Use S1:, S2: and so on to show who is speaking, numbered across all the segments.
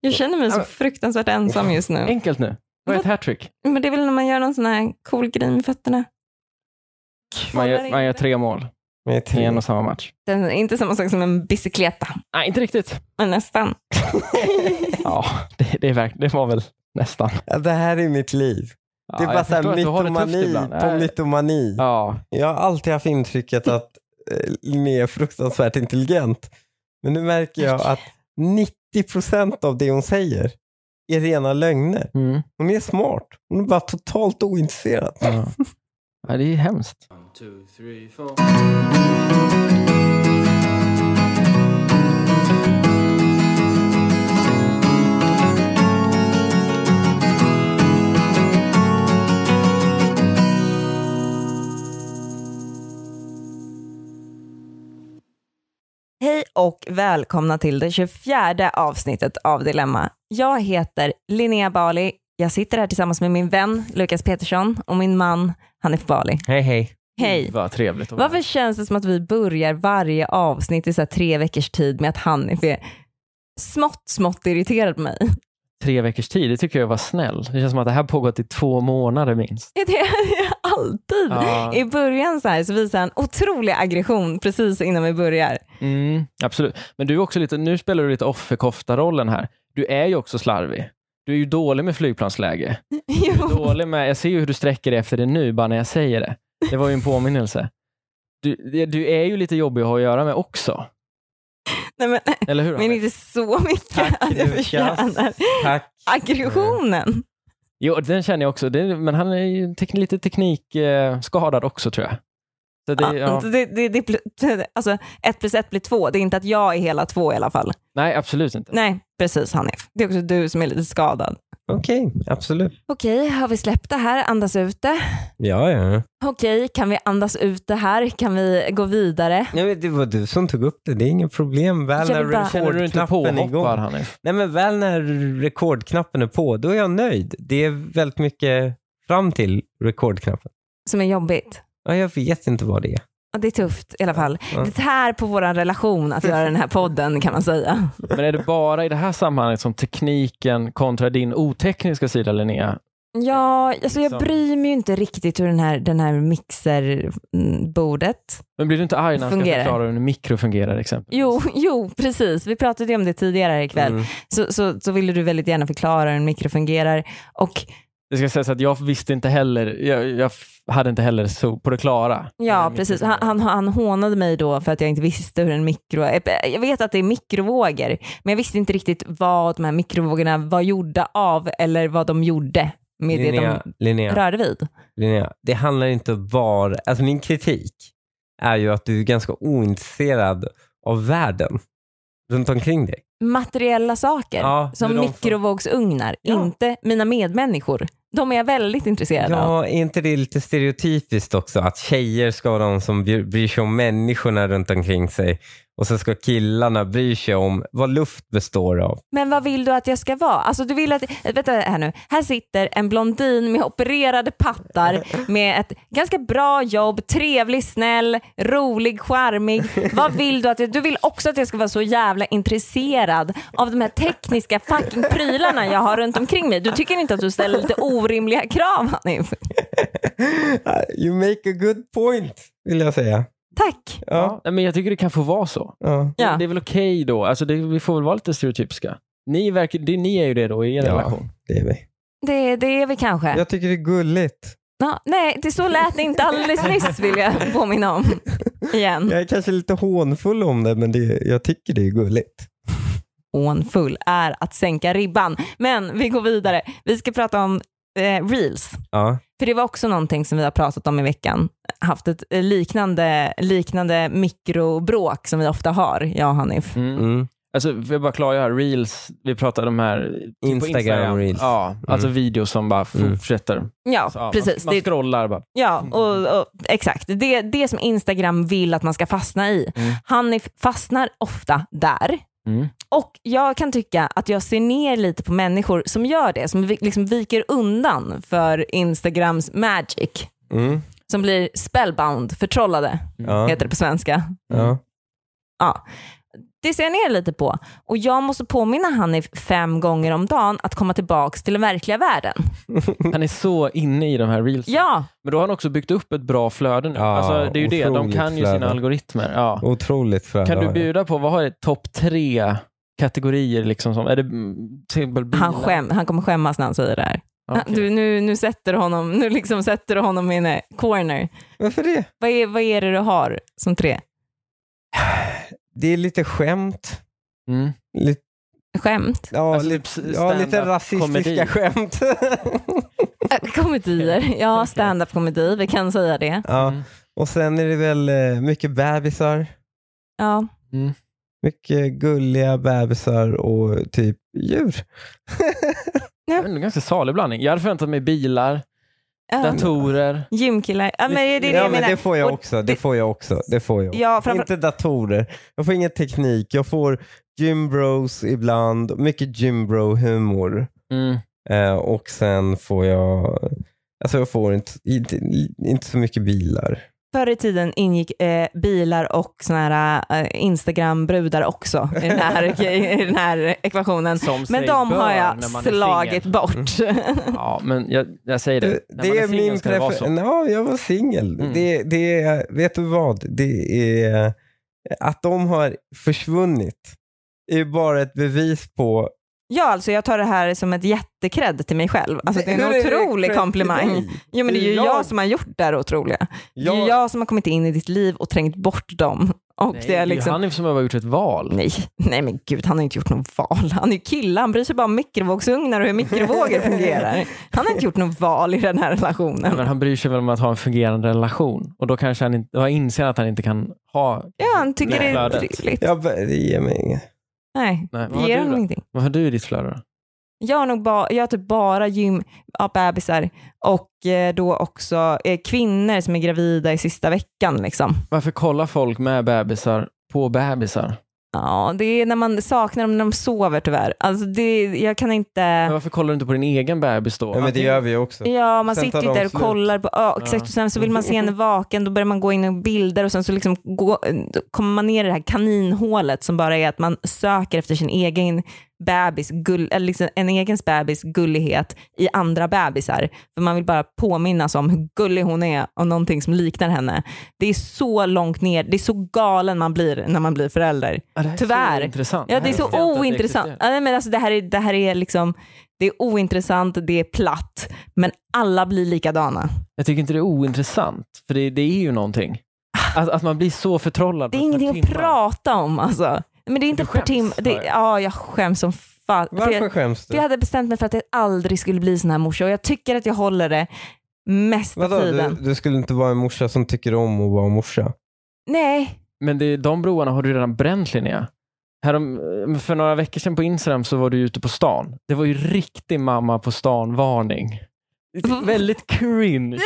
S1: Jag känner mig
S2: Ja,
S1: så
S2: men-
S1: fruktansvärt ensam just nu.
S2: Enkelt nu. Vad är ett hattrick?
S1: Men det är väl när man gör någon sån här cool grej med fötterna.
S2: Man
S1: Kvalar
S2: gör,
S1: in
S2: man gör
S1: det.
S2: tre mål
S3: Med
S2: i en
S3: tre.
S2: och samma match.
S1: Det är inte samma sak som en bicykleta,
S2: Nej, inte riktigt.
S1: men nästan.
S2: Ja, det, det, är verk, det var väl nästan.
S3: Ja, det här är mitt liv.
S2: Ja,
S3: Det är bara
S2: jag
S3: så här
S2: förstår att du har det tufft
S3: mytomani
S2: ibland.
S3: på
S2: Nej.
S3: mytomani.
S2: Ja,
S3: Jag har alltid haft intrycket att eh, Linné är fruktansvärt intelligent. Men nu märker jag att 90% av det hon säger är rena lögner.
S2: mm.
S3: Hon är smart. Hon är bara totalt ointresserad.
S2: ja. ja, det är hemskt.
S1: Hej och välkomna till det 24 avsnittet av Dilemma. Jag heter Linnea Bali. Jag sitter här tillsammans med min vän Lukas Petersson och min man Hanif Bali.
S3: Hej hej.
S1: Hej!
S2: Vad trevligt. att vara
S1: Varför känns det som att vi börjar varje avsnitt i så här tre veckors tid med att Hanif är smått, smått irriterad på mig?
S2: Tre veckors tid, det tycker jag var snäll. Det känns som att det här pågått i två månader minst.
S1: Det är jag alltid.
S2: Ja.
S1: I början så här så visar han otrolig aggression precis innan vi börjar.
S2: Mm, absolut. Men du är också lite, nu spelar du lite offerkofta-rollen här. Du är ju också slarvig. Du är ju dålig med flygplansläge. Du är
S1: Jo.
S2: dålig med, jag ser ju hur du sträcker dig efter det nu, bara när jag säger det. Det var ju en påminnelse. Du, du är ju lite jobbig att ha att göra med också.
S1: Nej, men,
S2: Eller hur?
S1: men
S2: Hanif?
S1: inte så mycket
S3: Tack,
S1: att jag
S3: Lukas.
S1: förtjänar.
S3: Tack.
S1: Aggressionen.
S2: Jo, den känner jag också. Det, men han är ju tek, lite teknikskadad också tror jag. Så det, ja.
S1: Det, det, det, blir- alltså, ett plus ett blir två. Det är inte att jag är hela två i alla fall.
S2: Nej, absolut inte.
S1: Nej, precis Hanif. Det är också du som är lite skadad.
S3: Okej, absolut.
S1: Okej, har vi släppt det här? Andas ut det.
S3: Ja, ja.
S1: Okej, kan vi andas ut det här? Kan vi gå vidare?
S3: Nej, men det var du som tog upp det. Det är inget problem. Väl
S1: Jag
S3: när
S1: vill bara-
S2: Känner du dig inte
S3: rekordknappen är igång.
S2: påhoppad Hanif?
S3: Nej, men väl när rekordknappen är på, då är jag nöjd. Det är väldigt mycket fram till rekordknappen.
S1: Som är jobbigt.
S3: Ja, jag vet inte vad det är.
S1: Ja, det är tufft i alla fall.
S3: Ja.
S1: Det här på vår relation att göra den här podden kan man säga.
S2: Men är det bara i det här sammanhanget som tekniken kontra din otekniska sida Linnea?
S1: Ja, alltså jag
S2: Liksom.
S1: bryr mig ju inte riktigt hur den här, den här mm, mixerbordet.
S2: Men blir du inte arg när han ska
S1: Fungerar.
S2: förklara hur en mikro fungerar exempelvis?
S1: Jo, jo, precis. Vi pratade ju om det tidigare här ikväll.
S3: Mm.
S1: Så, så, så ville du väldigt gärna förklara hur en mikro fungerar. Och
S2: Det ska sägas att jag visste inte heller, jag, jag f- hade inte heller så på det klara.
S1: ja,
S3: Mm,
S1: precis. Han, han, han hånade mig då för att jag inte visste hur en mikro... eh, Jag vet att det är mikrovågor, men jag visste inte riktigt vad de här mikrovågorna var gjorda av eller vad de gjorde med det
S3: Linnea,
S1: de
S3: Linnea,
S1: rörde vid.
S3: Linnea, det handlar inte om var... Alltså min kritik är ju att du är ganska ointresserad av världen runt omkring dig.
S1: materiella saker.
S3: Ja, hur
S1: som
S3: de
S1: mikrovågsugnar,
S3: Ja.
S1: inte mina medmänniskor. De är jag väldigt intresserad av.
S3: Ja, är inte det lite stereotypiskt också? Att tjejer ska vara de som bryr bryr sig om människorna runt omkring sig och så ska killarna bry sig om vad luft består av.
S1: Men vad vill du att jag ska vara? Alltså du vill att, äh, vänta här nu, här sitter en blondin med opererade pattar med ett ganska bra jobb, trevlig, snäll, rolig, charmig. Vad vill du att jag, du vill också att jag ska vara så jävla intresserad av de här tekniska fucking prylarna jag har runt omkring mig. Du tycker inte att du ställer lite orimliga krav Hanif?
S3: You make a good point, vill jag säga.
S1: Tack.
S3: Ja.
S2: Nej, Men jag tycker det kan få vara så.
S3: ja.
S1: Ja.
S2: Det är väl okej då? Alltså det, vi får väl vara lite stereotypiska. Ni, verkar, det, ni är ju det då i er
S3: Ja.
S2: relation.
S3: Det är vi.
S1: Det, det är vi kanske.
S3: Jag tycker det är gulligt.
S1: Ja, nej, det så lät det inte alldeles nyss vill jag påminna om. Igen.
S3: Jag är kanske lite hånfull om det, men det, jag tycker det är gulligt.
S1: Hånfull är att sänka ribban. Men vi går vidare. Vi ska prata om eh, reels.
S3: Ja.
S1: För det var också någonting som vi har pratat om i veckan. Haft ett eh, liknande, liknande mikrobråk som vi ofta har, jag och Hanif.
S2: Mm.
S3: Mm.
S2: Alltså, får jag bara klargöra, reels, vi pratade om här... typ på
S3: Instagram reels.
S2: Ja, alltså videos som bara
S3: Mm.
S2: fortsätter.
S1: Ja,
S2: Så, Alltså, ja,
S1: precis.
S2: Man, Mm. man
S1: Det,
S2: scrollar bara.
S1: ja, och, och, exakt. Det, det som Instagram vill att man ska fastna i.
S2: Mm.
S1: Hanif fastnar ofta där.
S2: Mm.
S1: Och jag kan tycka att jag ser ner lite på människor som gör det, som vi- liksom viker undan för Instagrams magic.
S3: Mm.
S1: Som blir spellbound, förtrollade,
S3: Ja.
S1: heter det på svenska.
S3: Ja.
S1: Ja. det ser jag ner lite på. Och jag måste påminna Hanif fem gånger om dagen att komma tillbaks till den verkliga världen.
S2: Han är så inne i de här reelsen.
S1: Ja,
S2: Men då har han också byggt upp ett bra flöde nu.
S3: Ja,
S2: alltså, det är ju det, de
S3: otroligt
S2: kan ju sina
S3: flöde.
S2: algoritmer. Ja.
S3: Otroligt flöde.
S2: Kan du
S3: har
S2: bjuda på, vad har det topp tre kategorier? Liksom som, är det mm, till exempel bilar?
S1: han, skäm, han kommer skämmas när han säger det här.
S2: Okej.
S1: Du, nu, nu sätter du honom, nu liksom sätter du honom i en corner.
S3: jag. Varför det?
S1: Vad är, vad är det du har som tre?
S3: Det är lite skämt.
S2: Mm.
S3: Lite,
S1: Skämt?
S3: ja,
S2: Alltså,
S3: lite,
S2: typ
S3: ja, lite
S2: stand-up komedi.
S3: rasistiska skämt.
S1: Äh, Komedier. Ja, stand-up komedi, vi kan säga det.
S3: ja.
S2: Mm.
S3: Och sen är det väl eh, mycket bebisar.
S1: Ja.
S3: Mycket gulliga bebisar och typ djur.
S2: Det är en ganska salig blandning. Jag hade förväntat mig bilar,
S1: Ja.
S2: datorer.
S1: Gymkillar. Ja, men det är det
S3: ja,
S1: jag
S3: men
S1: menar.
S3: det får jag
S1: Och
S3: också. Det
S1: det-
S3: får jag också. Det får jag.
S1: Ja, framför...
S3: Inte datorer. Jag får ingen teknik. Jag får Jim Bros ibland. Mycket Jim Bro-humor.
S2: Mm.
S3: Eh, och sen får jag... Alltså jag får inte, inte, inte så mycket bilar.
S1: Förr i tiden ingick eh, bilar och såna här eh, Instagram-brudar också i den här, i den här ekvationen.
S2: Som
S1: Men
S2: sig
S1: de har
S2: bör
S1: jag
S2: när man är
S1: slagit
S2: singel.
S1: bort.
S3: Mm.
S2: Ja, men jag, jag säger det.
S3: Det,
S2: När man
S3: är
S2: singel
S3: min Mm.
S2: ska det vara
S3: preferens.
S2: så.
S3: Ja, jag var singel.
S2: Mm.
S3: Det, det är, vet du vad? Det är att de har försvunnit är ju bara ett bevis på...
S1: Ja, alltså jag tar det här som ett jättekredd till mig själv. Alltså, det är en
S3: Hur det
S1: otrolig
S3: cred till
S1: komplimang.
S3: dig?
S1: Jo, men det är ju jag som har gjort det här otroliga. Det är ju
S3: jag-
S1: jag som har kommit in i ditt liv och trängt bort dem. Och
S2: Nej,
S1: det är
S2: ju
S1: liksom...
S2: Hanif som har gjort ett val.
S1: Nej, nej men gud, han har inte gjort något val. Han är ju kille, han bryr sig bara om mikrovågsugnar och hur mikrovågor fungerar. Han har inte gjort något val i den här relationen.
S2: Men han bryr sig väl om att ha en fungerande relation och då kanske han inte, då inser han att han inte kan ha...
S1: Ja, han tycker det är
S2: Flödet.
S1: trevligt.
S3: Jag, bara- det ger mig inget.
S1: Nej,
S2: Nej, vad,
S1: det ger
S2: har du,
S1: honom
S2: då?
S1: ingenting.
S2: vad har du i ditt flöde då?
S1: Jag har, nog ba, jag har typ bara gym, ja, bebisar och eh, då också eh, kvinnor som är gravida i sista veckan. Liksom.
S2: Varför kollar folk med bebisar på bebisar?
S1: Ja, det är när man saknar dem när de sover tyvärr. Alltså det, jag kan
S2: Men
S1: inte...
S2: varför kollar du inte på din egen bebis då?
S3: Ja, men det gör vi ju också.
S1: Ja, man
S3: Sen
S1: sitter
S3: tar de
S1: ju där och
S3: slut.
S1: kollar på, ja,
S2: Ja.
S1: exakt, och sen så vill man se henne vaken, då börjar man gå in i bilder och sen så liksom gå, då kommer man ner i det här kaninhålet som bara är att man söker efter sin egen bebis, gull, eller liksom en egens bebis gullighet i andra bebisar. För man vill bara påminnas om hur gullig hon är och någonting som liknar henne. Det är så långt ner, det är så galen man blir när man blir förälder.
S2: Ja, det här är
S1: Tyvärr.
S2: Så intressant.
S1: Ja, det är
S2: här
S1: så
S2: visste jag inte att det
S1: ointressant.
S2: existerar.
S1: Ja, nej, men alltså, det, här är, det här är liksom, det är ointressant, det är platt, men alla blir likadana.
S2: Jag tycker inte det är ointressant, för det, det är ju någonting. Att, att man blir så förtrollad.
S1: Det är
S2: på ett par
S1: ingenting att
S2: timmar.
S1: prata om alltså. Men det är inte
S2: Du
S1: ett par tim-
S2: skäms,
S1: det,
S2: hör jag.
S1: Ja, jag skäms som fan. För
S3: Varför
S1: jag,
S3: skäms
S1: för jag
S3: du?
S1: hade bestämt mig för att jag aldrig skulle bli sån här morsa och jag tycker att jag håller det mesta
S3: Vadå, du,
S1: tiden.
S3: du skulle inte vara en morsa som tycker om att vara morsa?
S1: Nej,
S2: Men det, de broarna har du redan bränt Linnea. Härom, eh, för några veckor sedan på Instagram så var du ute på stan. Det var ju riktig mamma på stan-varning. Väldigt cringe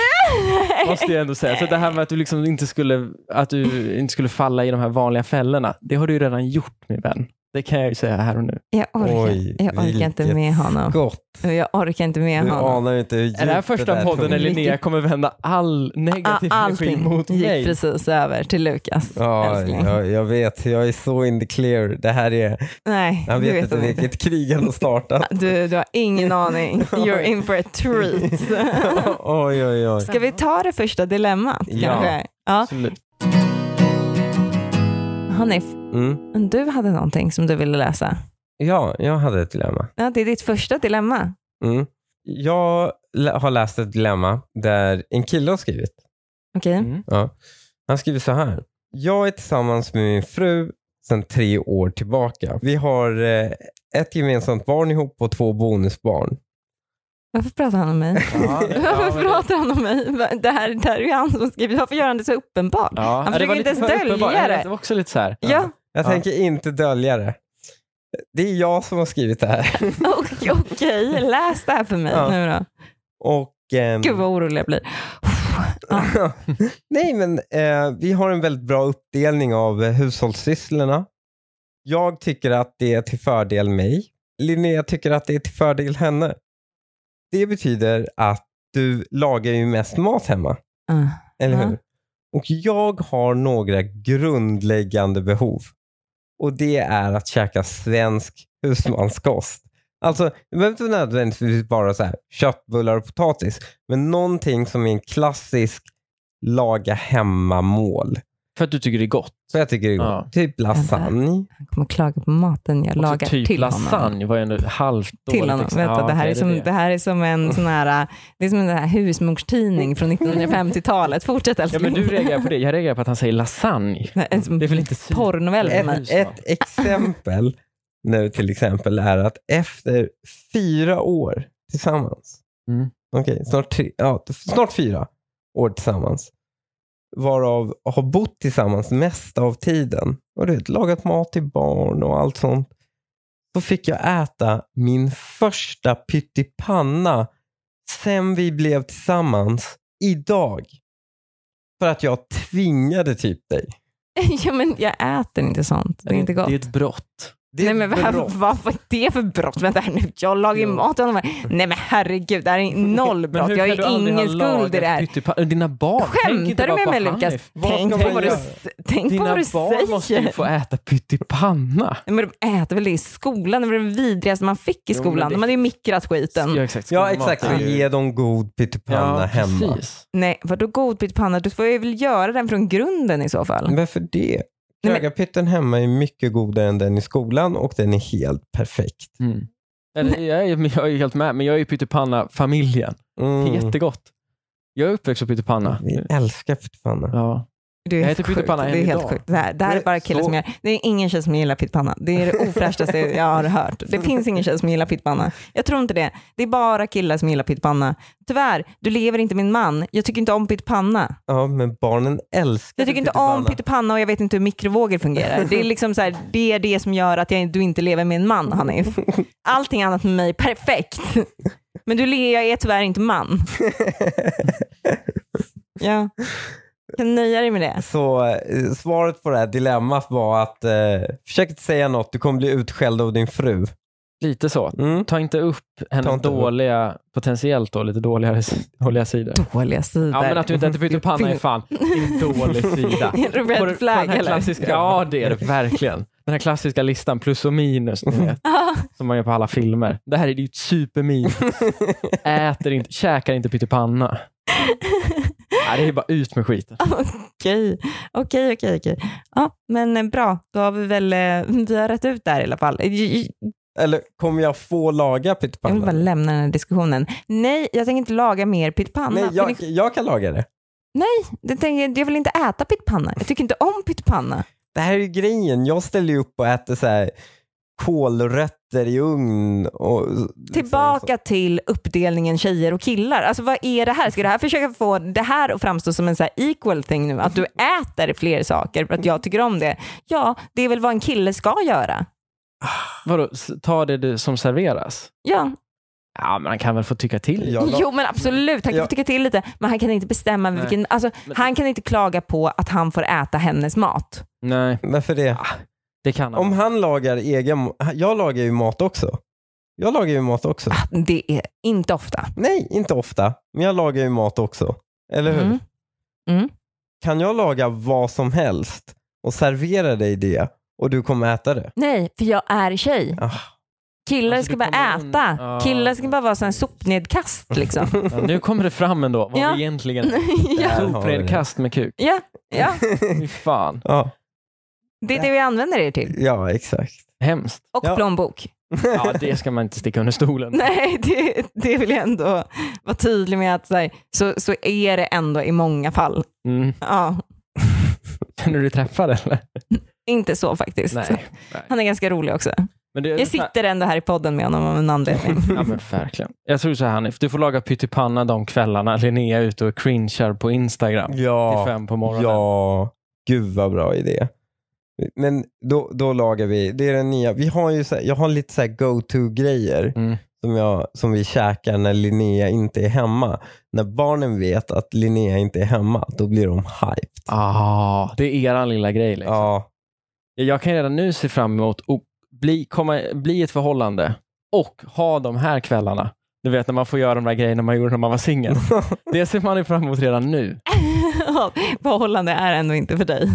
S2: måste jag ändå säga. Så det här med att du, liksom inte skulle, att du inte skulle falla i de här vanliga fällorna, det har du ju redan gjort min vän. Det kan jag ju säga här och nu.
S1: jag orkar,
S3: Oj,
S1: jag orkar inte
S3: vilket
S1: med honom.
S3: Gott.
S1: Jag orkar inte med
S3: Du
S1: honom. Ah,
S3: anar ju inte hur
S2: Är det här
S3: djupt
S2: första
S3: där
S2: podden
S3: tog.
S2: när Linnea kommer vända all
S1: Ah,
S2: negativ energi
S1: Allting
S2: mot
S1: gick
S2: mig?
S1: precis över till Lukas.
S3: Ja,
S1: älskling.
S3: jag, jag vet. Jag är så in the clear. Det här är...
S1: Nej,
S3: Han
S1: du
S3: vet
S1: vet
S3: inte
S1: hon
S3: vilket krig han har startat.
S1: Du, du har ingen aning. You're in for a treat.
S3: oj, oj, oj.
S1: Ska vi ta det första dilemmat
S3: Ja.
S1: kanske? Ja.
S2: Absolut.
S1: Hanif,
S3: Mm.
S1: du hade någonting som du ville läsa.
S3: Ja, jag hade ett dilemma.
S1: Ja, det är ditt första dilemma.
S3: Mm. Jag lä- har läst ett dilemma där en kille har skrivit.
S1: Okej.
S2: Mm.
S3: Ja. Han skriver så här. Jag är tillsammans med min fru sedan tre år tillbaka. Vi har eh, ett gemensamt barn ihop och två bonusbarn.
S1: Varför pratar han om mig?
S2: Ja, det- ja,
S1: Varför
S2: men det-
S1: pratar han om mig? Va- Det här, det här är ju han som skriver. Varför gör han det så uppenbart?
S2: Ja, det var
S1: försöker
S2: lite
S1: inte
S2: för
S1: ens
S2: uppenbart.
S1: dölja det.
S2: Det var också lite så här.
S1: Ja,
S3: Jag
S2: Ja.
S3: tänker inte dölja det. Det är jag som har skrivit det här.
S1: okej. okej. Läs det här för mig
S3: Ja.
S1: nu då.
S3: Och, ehm,
S1: Gud vad
S2: Mm.
S1: orolig jag blir.
S3: Nej, men eh, vi har en väldigt bra uppdelning av eh, hushållssysslorna. Jag tycker att det är till fördel mig. Linnea tycker att det är till fördel henne. Det betyder att du lagar ju mest mat hemma,
S1: Ah.
S3: eller
S1: Ja.
S3: hur? Och jag har några grundläggande behov. och det är att käka svensk husmanskost. Alltså, det behöver inte nödvändigtvis bara så här, köttbullar och potatis, men någonting som är en klassisk laga hemma-mål.
S2: För att du tycker det är gott.
S3: Så jag tycker det är gott.
S2: Ja.
S3: Typ lasagne.
S1: Han kommer klaga på maten jag
S2: Och så
S1: lagar
S2: typ
S1: till
S2: lasagne
S1: honom.
S2: var ju ändå halvt
S1: Till
S2: dåligt
S1: honom.
S2: exempel.
S1: Vänta,
S2: Ja,
S1: det, här
S2: okej,
S1: är som,
S2: det.
S1: det här är som en sån här, det är som en sån här husmorstidning från 1950-talet. Fortsätt
S2: Ja,
S1: älskling.
S2: men du reagerar på det. Jag reagerar på att han säger lasagne.
S1: Nej, en sån
S2: Det är väl inte synd?
S1: porrnovell för
S2: Ett-
S1: mig.
S2: Husman.
S3: Ett exempel nu till exempel är att efter fyra år tillsammans,
S2: Mm.
S3: okej, snart, tre, ja, snart fyra år tillsammans, varav har bott tillsammans mest av tiden och du vet, lagat mat till barn och allt sånt, så fick jag äta min första pyttipanna sen vi blev tillsammans idag. För att jag tvingade typ dig.
S1: Ja, men jag äter inte sånt. Det är inte gott.
S2: Det är ett brott.
S3: Det är
S1: Nej men vad,
S3: bra.
S1: vad, vad är det för brott? Vänta här nu, jag lagar ju
S2: Ja.
S1: mat åt honom. Nej men herregud, det här är noll brott. Jag har ju ingen skuld i det
S2: typ
S1: här.
S2: Dina barn. Tänk inte
S1: Skämtar du
S2: bara
S1: med
S2: på
S1: mig
S2: Hanif.
S1: Lukas?
S3: Vad
S1: Tänk
S3: ska
S1: på
S3: man
S1: vad du,
S3: göra?
S1: s- tänk på
S2: Dina
S1: vad du
S2: barn måste ju
S1: säger.
S2: få äta pyttipanna.
S1: Nej, Men de äter väl det i skolan? Det var det vidrigaste man fick i
S2: Jo, men
S1: skolan.
S2: det-
S1: De hade ju mikrat skiten.
S2: Ja exakt.
S3: Ja exakt, så
S2: Skolmat är ju-
S3: ge dem god pyttipanna
S2: ja,
S3: hemma.
S2: Precis.
S1: Nej, vadå godbitpanna? Du får ju väl göra den från grunden i så
S2: Mm.
S1: fall.
S3: Varför det?
S1: men-
S3: Krögarpytten hemma är mycket godare än den i skolan och den är helt perfekt.
S2: Mm. Eller, jag, är, men jag är helt med, men jag är ju pyttipanna-familjen. Det är
S3: Mm.
S2: jättegott. Jag är uppväxt på pyttipanna.
S3: Vi älskar pyttipanna.
S2: Ja.
S1: Det är
S2: Jag
S1: helt
S2: äter
S1: sjukt. Det
S2: pyttipanna än
S1: är helt
S2: idag.
S1: sjukt. Det här, det här är
S3: Nej,
S1: bara killar
S3: så-
S1: som gör. Det är ingen tjej som gillar pyttipanna. Det är det ofräschaste jag har hört. Det finns ingen tjej som gillar pyttipanna. Jag tror inte det. Det är bara killar som gillar pyttipanna. Tyvärr, du lever inte med en man. Jag tycker inte om pyttipanna.
S3: Ja, men barnen älskar
S1: Jag tycker inte om pyttipanna och jag vet inte hur mikrovågor fungerar. Det är liksom så här, det är det som gör att jag, du inte lever med en man, Hanif. Allting annat med mig är perfekt. Men du, le- jag är tyvärr inte man. Ja. Kan nöja dig med det.
S3: Så eh, svaret på det här dilemmat var att eh, försök inte säga något, du kommer bli utskälld av din fru.
S2: Lite så.
S3: Mm.
S2: Ta inte upp hennes
S3: Ta inte upp.
S2: dåliga, potentiellt då, lite dåligare, dåliga sidor.
S1: Dåliga sidor.
S2: Ja men att du inte äter pyttipanna är fan en dålig sida.
S1: Är det
S2: På-
S1: Red
S2: på den
S1: flag
S2: här
S1: eller?
S2: klassiska, ja det är det verkligen. Den här klassiska listan plus och minus ni vet,
S1: Ah,
S2: som man gör på alla filmer. Det här är ju ett superminus. Äter inte, käkar inte pyttipanna. Nej, det är bara ut med skiten.
S1: Ah. Okej, okej, okej. okej. Ja, men eh, bra, då har vi väl eh, vi har rätt ut där i alla fall. J- j-
S3: Eller kommer jag få laga
S1: Jag vill bara
S3: pyttipanna?
S1: lämna den här diskussionen. Nej, jag tänker inte laga mer pyttipanna.
S3: Nej,
S1: för
S3: jag, jag kan laga det.
S1: Det tänker jag, jag vill inte äta pyttipanna. Jag tycker inte om pyttipanna.
S3: Det här är ju grejen, jag ställer ju upp och äter så här kolrötter i ugn. Och, liksom
S1: Tillbaka till uppdelningen tjejer och killar. Alltså vad är det här? Ska det här försöka få det här att framstå som en så här equal thing nu? Att du äter fler saker för att jag tycker om det? Ja, det är väl vad en kille ska göra.
S2: Vadå, s- ta det du- som serveras?
S1: Ja,
S2: Ja, men han kan väl få tycka till.
S3: Jag la-
S1: jo men absolut. Han kan
S3: Ja.
S1: få tycka till lite, men han kan inte bestämma
S2: Nej.
S1: vilken... Alltså,
S2: Men-
S1: han kan inte klaga på att han får äta hennes mat.
S2: Nej,
S3: Varför det?
S1: Ah,
S2: det kan han.
S3: Om han lagar egen jag lagar ju mat också. Jag lagar ju mat också.
S1: Ah. Det är inte ofta.
S3: Nej, inte ofta, men jag lagar ju mat också. Eller hur?
S1: Mm. Mm.
S3: Kan jag laga vad som helst och servera dig det och du kommer äta det?
S1: Nej, för jag är tjej.
S3: Ah.
S1: Killar
S2: Alltså,
S1: ska
S2: du
S1: bara
S2: kommer
S1: äta.
S2: undan. Ah. Ja.
S1: Killar ska bara vara sån här sopnedkast liksom.
S2: Ja, nu kommer det fram ändå, vad
S1: Ja.
S2: vi egentligen
S1: ja,
S3: Där har vi det.
S2: Sopredkast med kuk.
S1: ja, ja,
S2: Fy fan,
S3: Ja,
S1: det är det vi använder er till.
S3: ja exakt.
S2: hemskt.
S1: Och
S3: Ja.
S1: plånbok.
S2: Ja, det ska man inte sticka under stolen.
S1: Nej, det, det vill jag ändå vara tydlig med att så, här, så, så är det ändå i många fall.
S2: Mm.
S1: Ja,
S2: Känner du dig träffad eller?
S1: inte så faktiskt.
S2: Nej.
S1: Han är ganska rolig också.
S2: Men det,
S1: Jag sitter ändå här i podden med honom av en anledning.
S2: Ja men verkligen. Jag tror så här Hanif, du får laga pyttipanna de kvällarna Linnea är ute och cringear på Instagram till
S3: Ja,
S2: fem på morgonen.
S3: ja, gud vad bra idé. Men då, då lagar vi, det är den nya, vi har ju så här, jag har lite så här go-to-grejer.
S2: Mm.
S3: som, jag, som vi käkar när Linnea inte är hemma. När barnen vet att Linnea inte är hemma, då blir de hyped.
S2: Ah, det är eran lilla grej. Liksom.
S3: Ja,
S2: Jag kan redan nu se fram emot att bli, komma, bli ett förhållande och ha de här kvällarna. Du vet när man får göra de där grejerna man gjorde när man var singel. Det ser man ju fram emot redan nu.
S1: Förhållande är ändå inte för dig.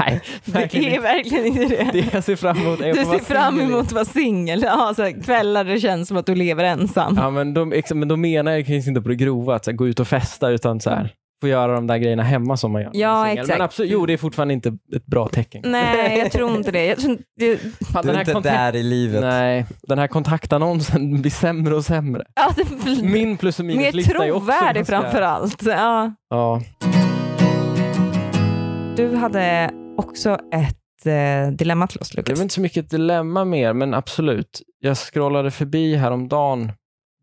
S2: Nej, verkligen
S1: Det är
S2: inte.
S1: verkligen inte det.
S2: Det jag ser fram emot är att
S1: Du
S2: få vara
S1: ser fram
S2: singel.
S1: emot att vara singel. Ja, så här, kvällar det känns som att du lever ensam.
S2: Ja, men, de, ex- men de menar jag kanske inte på det grova, att så här, gå ut och festa, utan så här, få göra de där grejerna hemma som man gör när
S1: Ja,
S2: man är singel.
S1: exakt. Mm.
S2: Men absolut, jo, det är fortfarande inte ett bra tecken.
S1: Nej, jag tror inte det. Jag tror, inte- det
S2: Fan,
S3: Du är inte
S2: kontakt-
S3: där i livet.
S2: Nej, den här kontaktannonsen blir sämre och sämre.
S1: ja, det blir
S2: Min plus och
S1: Alltså, Mm. mer
S2: minuslista är också
S1: trovärdig
S2: ganska-
S1: framför allt. Ja.
S2: Ja,
S1: Du hade också ett eh, dilemma till oss,
S2: det är
S1: Lukas.
S2: väl inte så mycket ett dilemma mer, men absolut. Jag scrollade förbi häromdagen,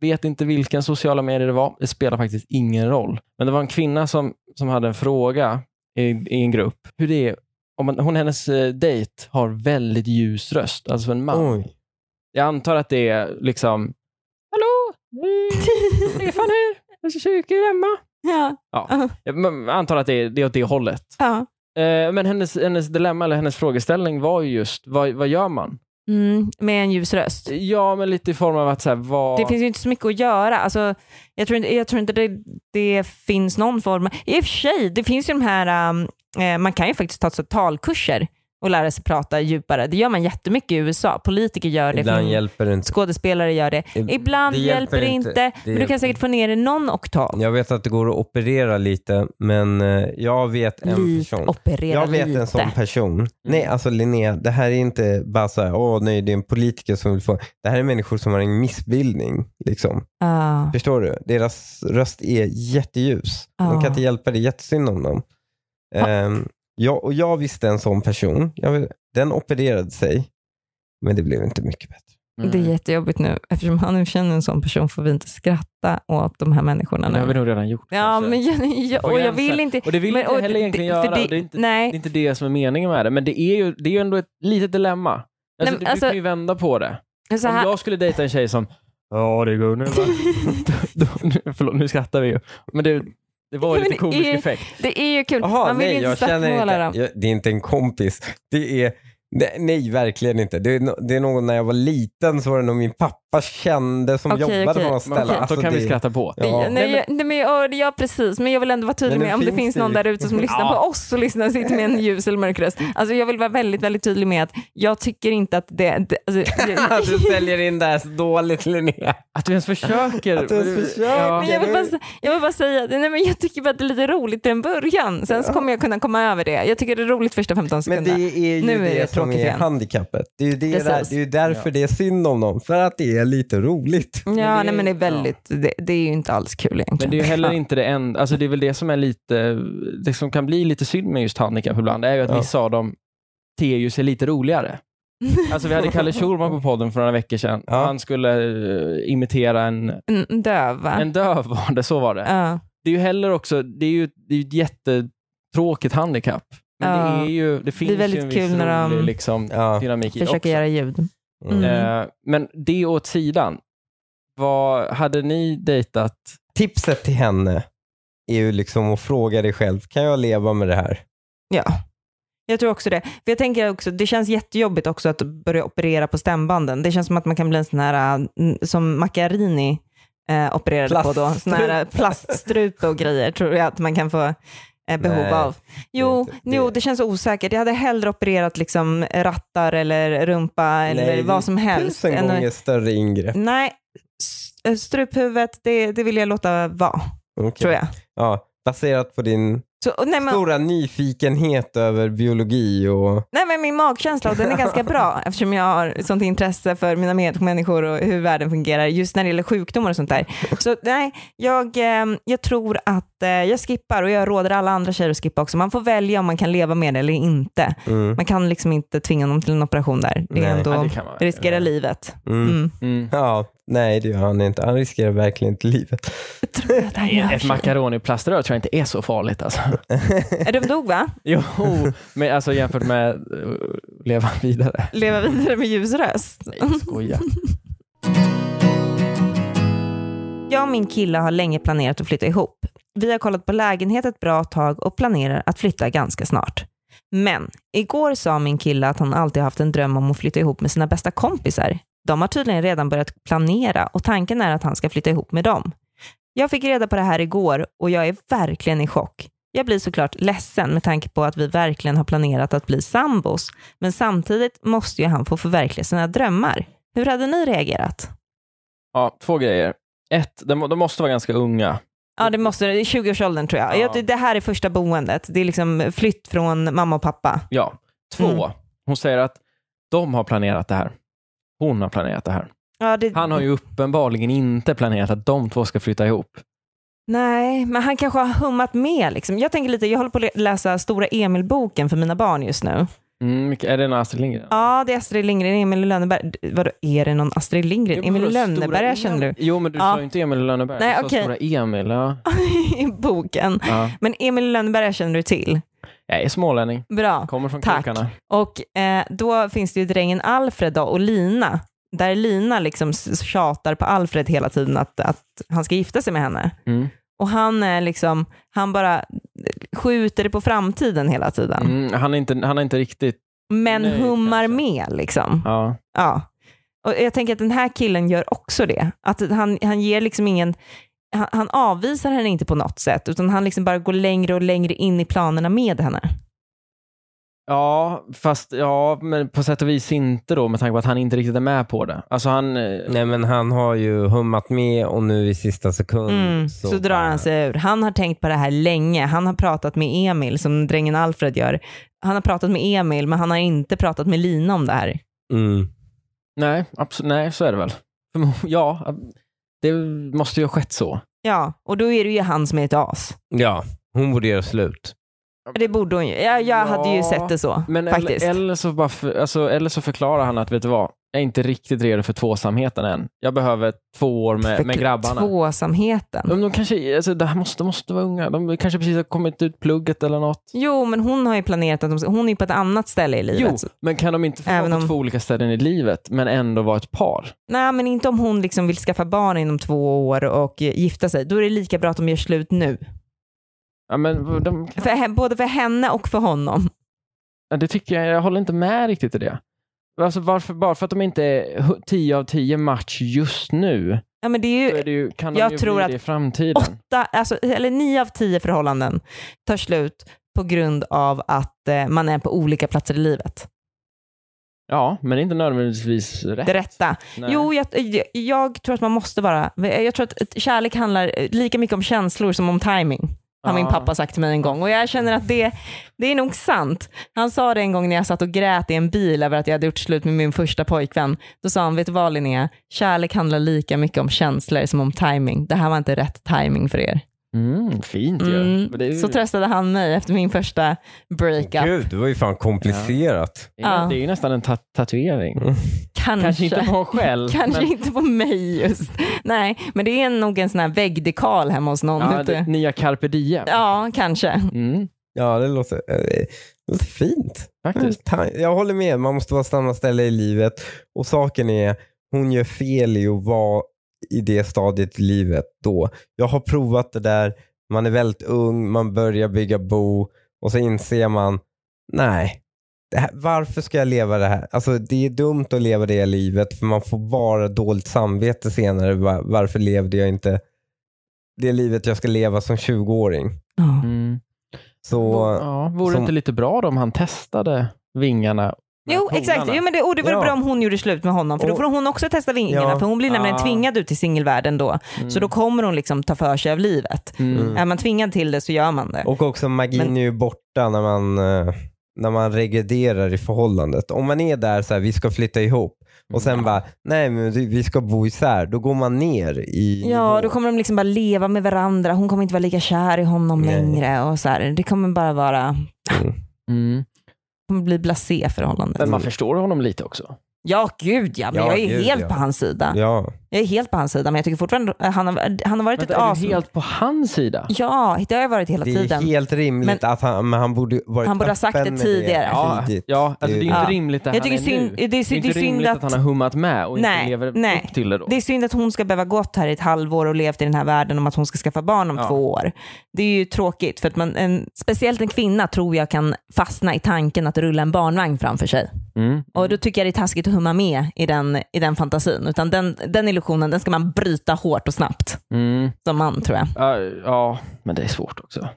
S2: vet inte vilken sociala medier det var, det spelar faktiskt ingen roll. Men det var en kvinna som, som hade en fråga i, i en grupp. Hur det är, om man, hon, hennes eh, dejt har väldigt ljus röst, alltså en man.
S3: Oj.
S2: Jag antar att det är liksom, hallå, det är Stefan här, jag försöker Emma.
S1: Ja,
S2: Jag antar att det är, det är åt det hållet.
S1: ja.
S2: Eh, men hennes, hennes dilemma eller hennes frågeställning var ju just, vad, vad gör man?
S1: Mm, med en ljus röst.
S2: Ja, men lite i form av att så här, vad...
S1: Det finns ju inte så mycket att göra. Alltså, jag, tror inte, jag tror inte det, det finns någon form. I och för sig, det finns ju de här, um, eh, man kan ju faktiskt ta så, talkurser och lära sig prata djupare. Det gör man jättemycket i USA. Politiker gör det,
S3: Ibland
S1: film-
S3: hjälper det inte.
S1: skådespelare gör det.
S3: Ib-
S1: Ibland
S3: det
S1: hjälper det inte, men du
S3: hjälper
S1: kan säkert få ner det någon oktav.
S3: Jag vet att det går att operera lite, men eh, jag vet en
S1: Lite,
S3: person.
S1: operera
S3: Jag vet
S1: lite. Mm.
S3: en sån person. Nej, alltså Linnea, det här är inte bara så här, åh nej, det är en politiker som vill få. Det här är människor som har en missbildning. Liksom.
S1: Ja.
S3: Förstår du? Deras röst är jätteljus. De
S1: Ja.
S3: kan inte hjälpa det, jättesynd om dem. Ehm, jag, och jag visste en sån person. Jag, vill- den opererade sig, men det blev inte mycket bättre.
S1: Det
S2: Mm.
S1: är jättejobbigt nu. Eftersom han nu känner en sån person får vi inte skratta åt de här människorna
S2: Men det har vi
S1: nu.
S2: nog redan gjort.
S1: Ja,
S2: kanske.
S1: men jag, jag,
S2: På
S1: och jag
S2: gränsen.
S1: vill inte...
S2: Och det vill
S1: men-
S2: inte
S1: och
S2: heller egentligen
S1: för
S2: göra. Det är inte-
S1: nej,
S2: Det är inte det som är meningen med det, men det är ju, det är ju ändå ett litet dilemma. Alltså,
S1: Nej,
S2: du,
S1: men
S2: du
S1: alltså-
S2: kan ju vända på det.
S1: så
S2: Om
S1: här,
S2: jag skulle dejta en tjej som, ja det går nu va? då, då, förlåt, nu skrattar vi ju. Men det, det var ju
S1: Men
S2: lite
S1: det är ju-
S2: komisk effekt.
S1: Det är ju kul.
S3: Jaha,
S1: Man vill
S3: nej,
S1: ju inte
S3: jag känner
S1: svartmåla
S3: inte.
S1: dem.
S3: Jag, det är inte en kompis. Det är, nej, nej verkligen inte. Det är, no- det är någon när jag var liten så var det någon min pappa kände som
S1: Okej,
S3: jobbade
S1: okej.
S3: på något
S2: Men
S3: ställe. Alltså,
S2: Då kan
S3: det,
S2: vi skratta på.
S3: Ja.
S1: Nej, nej, jag- nej, men, ja, ja, precis. Men jag vill ändå vara tydlig
S3: Men det
S1: med om det
S3: finns
S1: finns
S3: det
S1: någon
S3: ju.
S1: där ute som lyssnar
S2: Ja.
S1: på oss och lyssnar och sitter med en ljus eller mörk röst. Alltså, jag vill vara väldigt, väldigt tydlig med att jag tycker inte att det... det alltså, jag,
S3: du säljer in det här så dåligt Linnea.
S2: Att du ens försöker.
S3: Att du ens försöker.
S2: Ja.
S1: men jag, vill bara, sä- jag vill bara säga att nej, men jag tycker bara att det är lite roligt till en början. Sen så kommer jag kunna komma över det. Jag tycker det är roligt första 15
S3: Men
S1: sekunderna.
S3: det är ju
S1: Nu är
S3: det,
S1: det
S3: som är
S1: tråkigt igen.
S3: handikappet. Det är ju det där,
S1: Precis.
S3: det är ju därför
S2: Ja.
S3: det är synd om dem. För att det är lite roligt.
S1: Ja,
S2: men det-
S1: nej, men det är väldigt... Det, det är ju inte alls kul egentligen.
S2: Men det är ju heller inte det enda, alltså det är väl det som är lite, det som kan bli lite synd med just handikapp ibland, det är ju att
S3: Ja.
S2: vissa av dem ter ju sig lite roligare. Alltså vi hade Kalle Schulman på podden för några veckor sedan.
S3: Ja.
S2: Han skulle eh, imitera
S1: Äh.
S2: en,
S1: En döv, va?
S2: en döv var det, så var det.
S1: Ja.
S2: Det är ju heller också, det är ju, det är ju ett jättetråkigt handikapp. Men
S1: Ja.
S2: det, är ju, det finns
S1: väldigt
S2: ju en
S1: kul
S2: viss
S1: när de
S2: rolig liksom,
S3: Ja.
S2: dynamik i också.
S1: Försöker göra ljud.
S3: Mm.
S1: Mm.
S2: Eh, Men det åt sidan. Vad hade ni dejtat?
S3: Tipset till henne är ju liksom att fråga dig själv, kan jag leva med det här?
S1: Ja, jag tror också det. För jag tänker också, det känns jättejobbigt också att börja operera på stämbanden. Det känns som att man kan bli en sån här, mm, som Macchiarini eh, opererade på då, sån här äh, plaststrupe och grejer tror jag att man kan få eh, behov
S3: Nej,
S1: av. Jo
S3: det är inte-
S1: det, jo,
S3: det-
S1: det känns osäkert. Jag hade hellre opererat liksom rattar eller rumpa
S3: Nej,
S1: eller vad som helst.
S3: Tusen
S1: än-
S3: gånger större ingrepp.
S1: Nej, s- äh, struphuvudet, det, det vill jag låta vara,
S3: Okej.
S1: Mm. tror jag.
S3: Ja, baserat på din
S1: Så, och nej, men,
S3: stora nyfikenhet över biologi och...
S1: Nej men min magkänsla, och den är ganska bra eftersom jag har sånt intresse för mina medmänniskor och hur världen fungerar just när det gäller sjukdomar och sånt där. Så nej, jag, eh, jag tror att eh, jag skippar och jag råder alla andra tjejer att skippa också. Man får välja om man kan leva med det eller inte.
S3: Mm,
S1: Man kan liksom inte tvinga någon till en operation där. Det
S3: Nej.
S1: är ändå
S2: Ja, det kan man verkligen.
S1: riskera livet.
S3: mm.
S1: Mm.
S2: Mm.
S3: Ja, nej det gör han inte. Han riskerar verkligen inte livet.
S1: Jag tror att det här gör
S2: Ett
S1: sig.
S2: makaroniplaströr tror jag inte är så farligt alltså.
S1: Är De dog va?
S2: Jo, men alltså jämfört med eh, leva vidare.
S1: Leva vidare med ljus röst.
S2: Nej, jag skojar.
S1: Jag och min kille har länge planerat att flytta ihop. Vi har kollat på lägenhet ett bra tag och planerar att flytta ganska snart. Men igår sa min kille att han alltid haft en dröm om att flytta ihop med sina bästa kompisar. De har tydligen redan börjat planera och tanken är att han ska flytta ihop med dem. Jag fick reda på det här igår och jag är verkligen i chock. Jag blir såklart ledsen med tanke på att vi verkligen har planerat att bli sambos, men samtidigt måste ju han få förverkliga sina drömmar. Hur hade ni reagerat?
S2: Ja, två grejer. Ett, de, de måste vara ganska unga.
S1: Ja, det måste det är 20-årsåldern tror jag.
S2: Ja.
S1: Ja. det- Det här är första boendet. Det är liksom flytt från mamma och pappa.
S2: Ja. Två, hon säger att de har planerat det här. Hon har planerat det här.
S1: Ja, det,
S2: Han har ju uppenbarligen inte planerat att de två ska flytta ihop.
S1: Nej, men han kanske har hummat med. Liksom. Jag tänker lite, jag håller på att läsa Stora Emil-boken för mina barn just nu.
S2: Mm, vilka- är det en Astrid Lindgren?
S1: Ja, det är Astrid Lindgren, Emil i Lönneberg. D- Vadå, är det någon Astrid Lindgren? Emil i Lönneberg känner du
S2: Jo, men du
S1: Ja.
S2: sa ju inte Emil i Lönneberg.
S1: Nej,
S2: du sa
S1: okej.
S2: Stora Emil. Ja.
S1: i boken.
S2: Ja.
S1: Men Emil i Lönneberg känner du till.
S2: Jag är smålänning.
S1: Bra.
S2: Kommer från
S1: Tack.
S2: krokarna.
S1: Och eh, då finns det ju drängen Alfred då, och Lina. Där Lina liksom s- tjatar på Alfred hela tiden att, att han ska gifta sig med henne.
S2: Mm.
S1: Och han är liksom, han bara skjuter det på framtiden hela tiden.
S2: Mm, han, är inte, han är inte riktigt...
S1: men
S2: Nej,
S1: hummar
S2: kanske.
S1: med liksom. Ja.
S2: Ja.
S1: Och jag tänker att den här killen gör också det. Att han, han ger liksom ingen, han, han avvisar henne inte på något sätt, utan han liksom bara går längre och längre in i planerna med henne.
S2: Ja, fast ja, men på sätt och vis inte då med tanke på att han inte riktigt är med på det. Alltså han... eh,
S3: Nej men han har ju hummat med och nu i sista sekund
S1: Mm, så, drar han sig ur. Han har tänkt på det här länge. Han har pratat med Emil, som drängen Alfred gör. Han har pratat med Emil, men han har inte pratat med Lina om det här.
S3: Mm.
S2: Nej, absolut, nej, så är det väl. Förmo- Ja, det måste ju ha skett så.
S1: Ja, och då är det ju han som är ett as.
S3: Ja, hon borde göra slut.
S1: Det borde hon ju. Jag, jag
S2: Ja,
S1: hade ju sett det så,
S2: Men
S1: faktiskt.
S2: eller, eller, så bara för, alltså, eller så förklarar han att, vet du vad, jag är inte riktigt redo för tvåsamheten än. Jag behöver två år med, med
S1: För typ
S2: grabbarna.
S1: Tvåsamheten.
S2: Men de kanske, alltså, det här måste, de måste vara unga. De kanske precis har kommit ut plugget eller något.
S1: Jo, men hon har ju planerat att de ska, hon är ju på ett annat ställe i livet.
S2: Jo, men kan de inte få
S1: Även
S2: vara på
S1: om-
S2: två olika ställen i livet, men ändå vara ett par?
S1: Nej, men inte om hon liksom vill skaffa barn inom två år och eh, gifta sig. Då är det lika bra att de gör slut nu.
S2: Ja, men de kan...
S1: För, he- både för henne och för honom.
S2: Ja, det tycker jag, jag håller inte med riktigt i det. Alltså varför, bara för att de inte är hu- 10 av 10 match just nu,
S1: Ja, men det är
S2: så
S1: ju
S2: är det ju, kan de
S1: jag
S2: ju
S1: tror
S2: bli
S1: att
S2: det i framtiden.
S1: åtta, alltså, eller nio av tio förhållanden tar slut på grund av att eh, man är på olika platser i livet.
S2: Ja, men det är inte nödvändigtvis rätt.
S1: Det rätta.
S2: Nej.
S1: Jo, jag, jag- jag tror att man måste vara... Jag tror att kärlek handlar lika mycket om känslor som om timing. har min
S2: Ja.
S1: pappa sagt till mig en gång. Och jag känner att det, det är nog sant. Han sa det en gång när jag satt och grät i en bil över att jag hade gjort slut med min första pojkvän. Då sa han, vet du vad Linnea, kärlek handlar lika mycket om känslor som om timing. Det här var inte rätt timing för er.
S2: Mm, fint ju.
S1: Mm.
S2: Men det är ju-
S1: Så tröstade han mig efter min första breakup.
S3: Gud, det var ju fan komplicerat.
S2: det är-
S1: Ja.
S2: Det är ju nästan en ta- tatuering.
S1: Kanske.
S2: Kanske inte på en själv.
S1: Kanske
S2: men-
S1: inte på mig just. Nej, men det är nog en sån här väggdekal hemma hos någon.
S2: Ja,
S1: ute.
S2: det, nya carpe diem.
S1: ja kanske.
S2: Mm,
S3: Ja, det låter, eh, det låter fint.
S2: faktiskt.
S3: Ta- Jag håller med, man måste vara samma ställe i livet. Och saken är, hon gör fel i att vara i det stadiet i livet då. Jag har provat det där, man är väldigt ung, man börjar bygga bo och så inser man, nej, det här, varför ska jag leva det här? Alltså det är dumt att leva det livet för man får bara dåligt samvete senare. Va- Varför levde jag inte det livet jag ska leva som 20-åring?
S1: Ja.
S2: Mm.
S3: Så,
S2: ja, vore det
S3: som-
S2: inte lite bra då om han testade vingarna? med
S1: Jo, exakt.
S2: polarna?
S1: Jo, men det, och det vore
S3: Ja.
S1: bra om hon gjorde slut med honom, för då
S3: Och-
S1: får hon också testa vingarna,
S3: Ja.
S1: för hon blir nämligen
S2: Ah.
S1: tvingad ut i singelvärlden då. Så
S2: Mm.
S1: då kommer hon liksom ta för sig av livet.
S2: Mm.
S1: Är man tvingad till det så gör man det.
S3: Och också magin
S1: Men-
S3: är ju borta när man, eh, när man regrederar i förhållandet. Om man är där så här, vi ska flytta ihop och
S1: Mm.
S3: sen bara, nej men du, vi ska bo isär, då går man ner i
S1: Ja,
S3: nivå.
S1: då kommer de liksom bara leva med varandra. Hon kommer inte vara lika kär i honom
S3: Nej.
S1: längre. Och så här. Det kommer bara vara,
S2: Mm.
S1: kommer bli blasé förhållande.
S2: Men man förstår honom lite också.
S1: Ja, gud ja. Men
S3: Ja,
S1: jag är
S3: gud,
S1: helt
S3: ja.
S1: på hans sida.
S3: Ja.
S1: Jag är helt på hans sida, men jag tycker fortfarande han har, han har varit
S2: Vänta,
S1: ett
S2: är
S1: as.
S2: du helt på hans sida?
S1: Ja, det har jag varit hela
S3: Det är
S1: tiden.
S3: helt rimligt att han, men han borde varit
S1: Han borde ha sagt
S3: öppen
S1: det
S3: med
S1: tidigare.
S2: Ja,
S3: tidigt.
S2: ja alltså det är ju inte
S1: Ja.
S2: rimligt det
S1: Jag
S2: han
S1: tycker
S2: är
S1: synd,
S2: nu.
S1: det är,
S2: Det är
S1: det
S2: inte
S1: är synd
S2: rimligt att, han har hummat med och
S1: Nej,
S2: inte lever
S1: nej.
S2: upp till det då.
S1: Det är synd att hon ska behöva gått här i ett halvår och levt i den här världen om att hon ska skaffa barn om
S2: Ja.
S1: två år. Det är ju tråkigt, för att man, en, speciellt en kvinna tror jag kan fastna i tanken att rulla en barnvagn framför sig.
S2: Mm.
S1: Och då tycker jag det är taskigt att humma med i den, i den fantasin. Utan den, den illusionen, den ska man bryta hårt och snabbt
S2: Mm.
S1: som man tror jag.
S2: Ja, ja, men det är svårt också.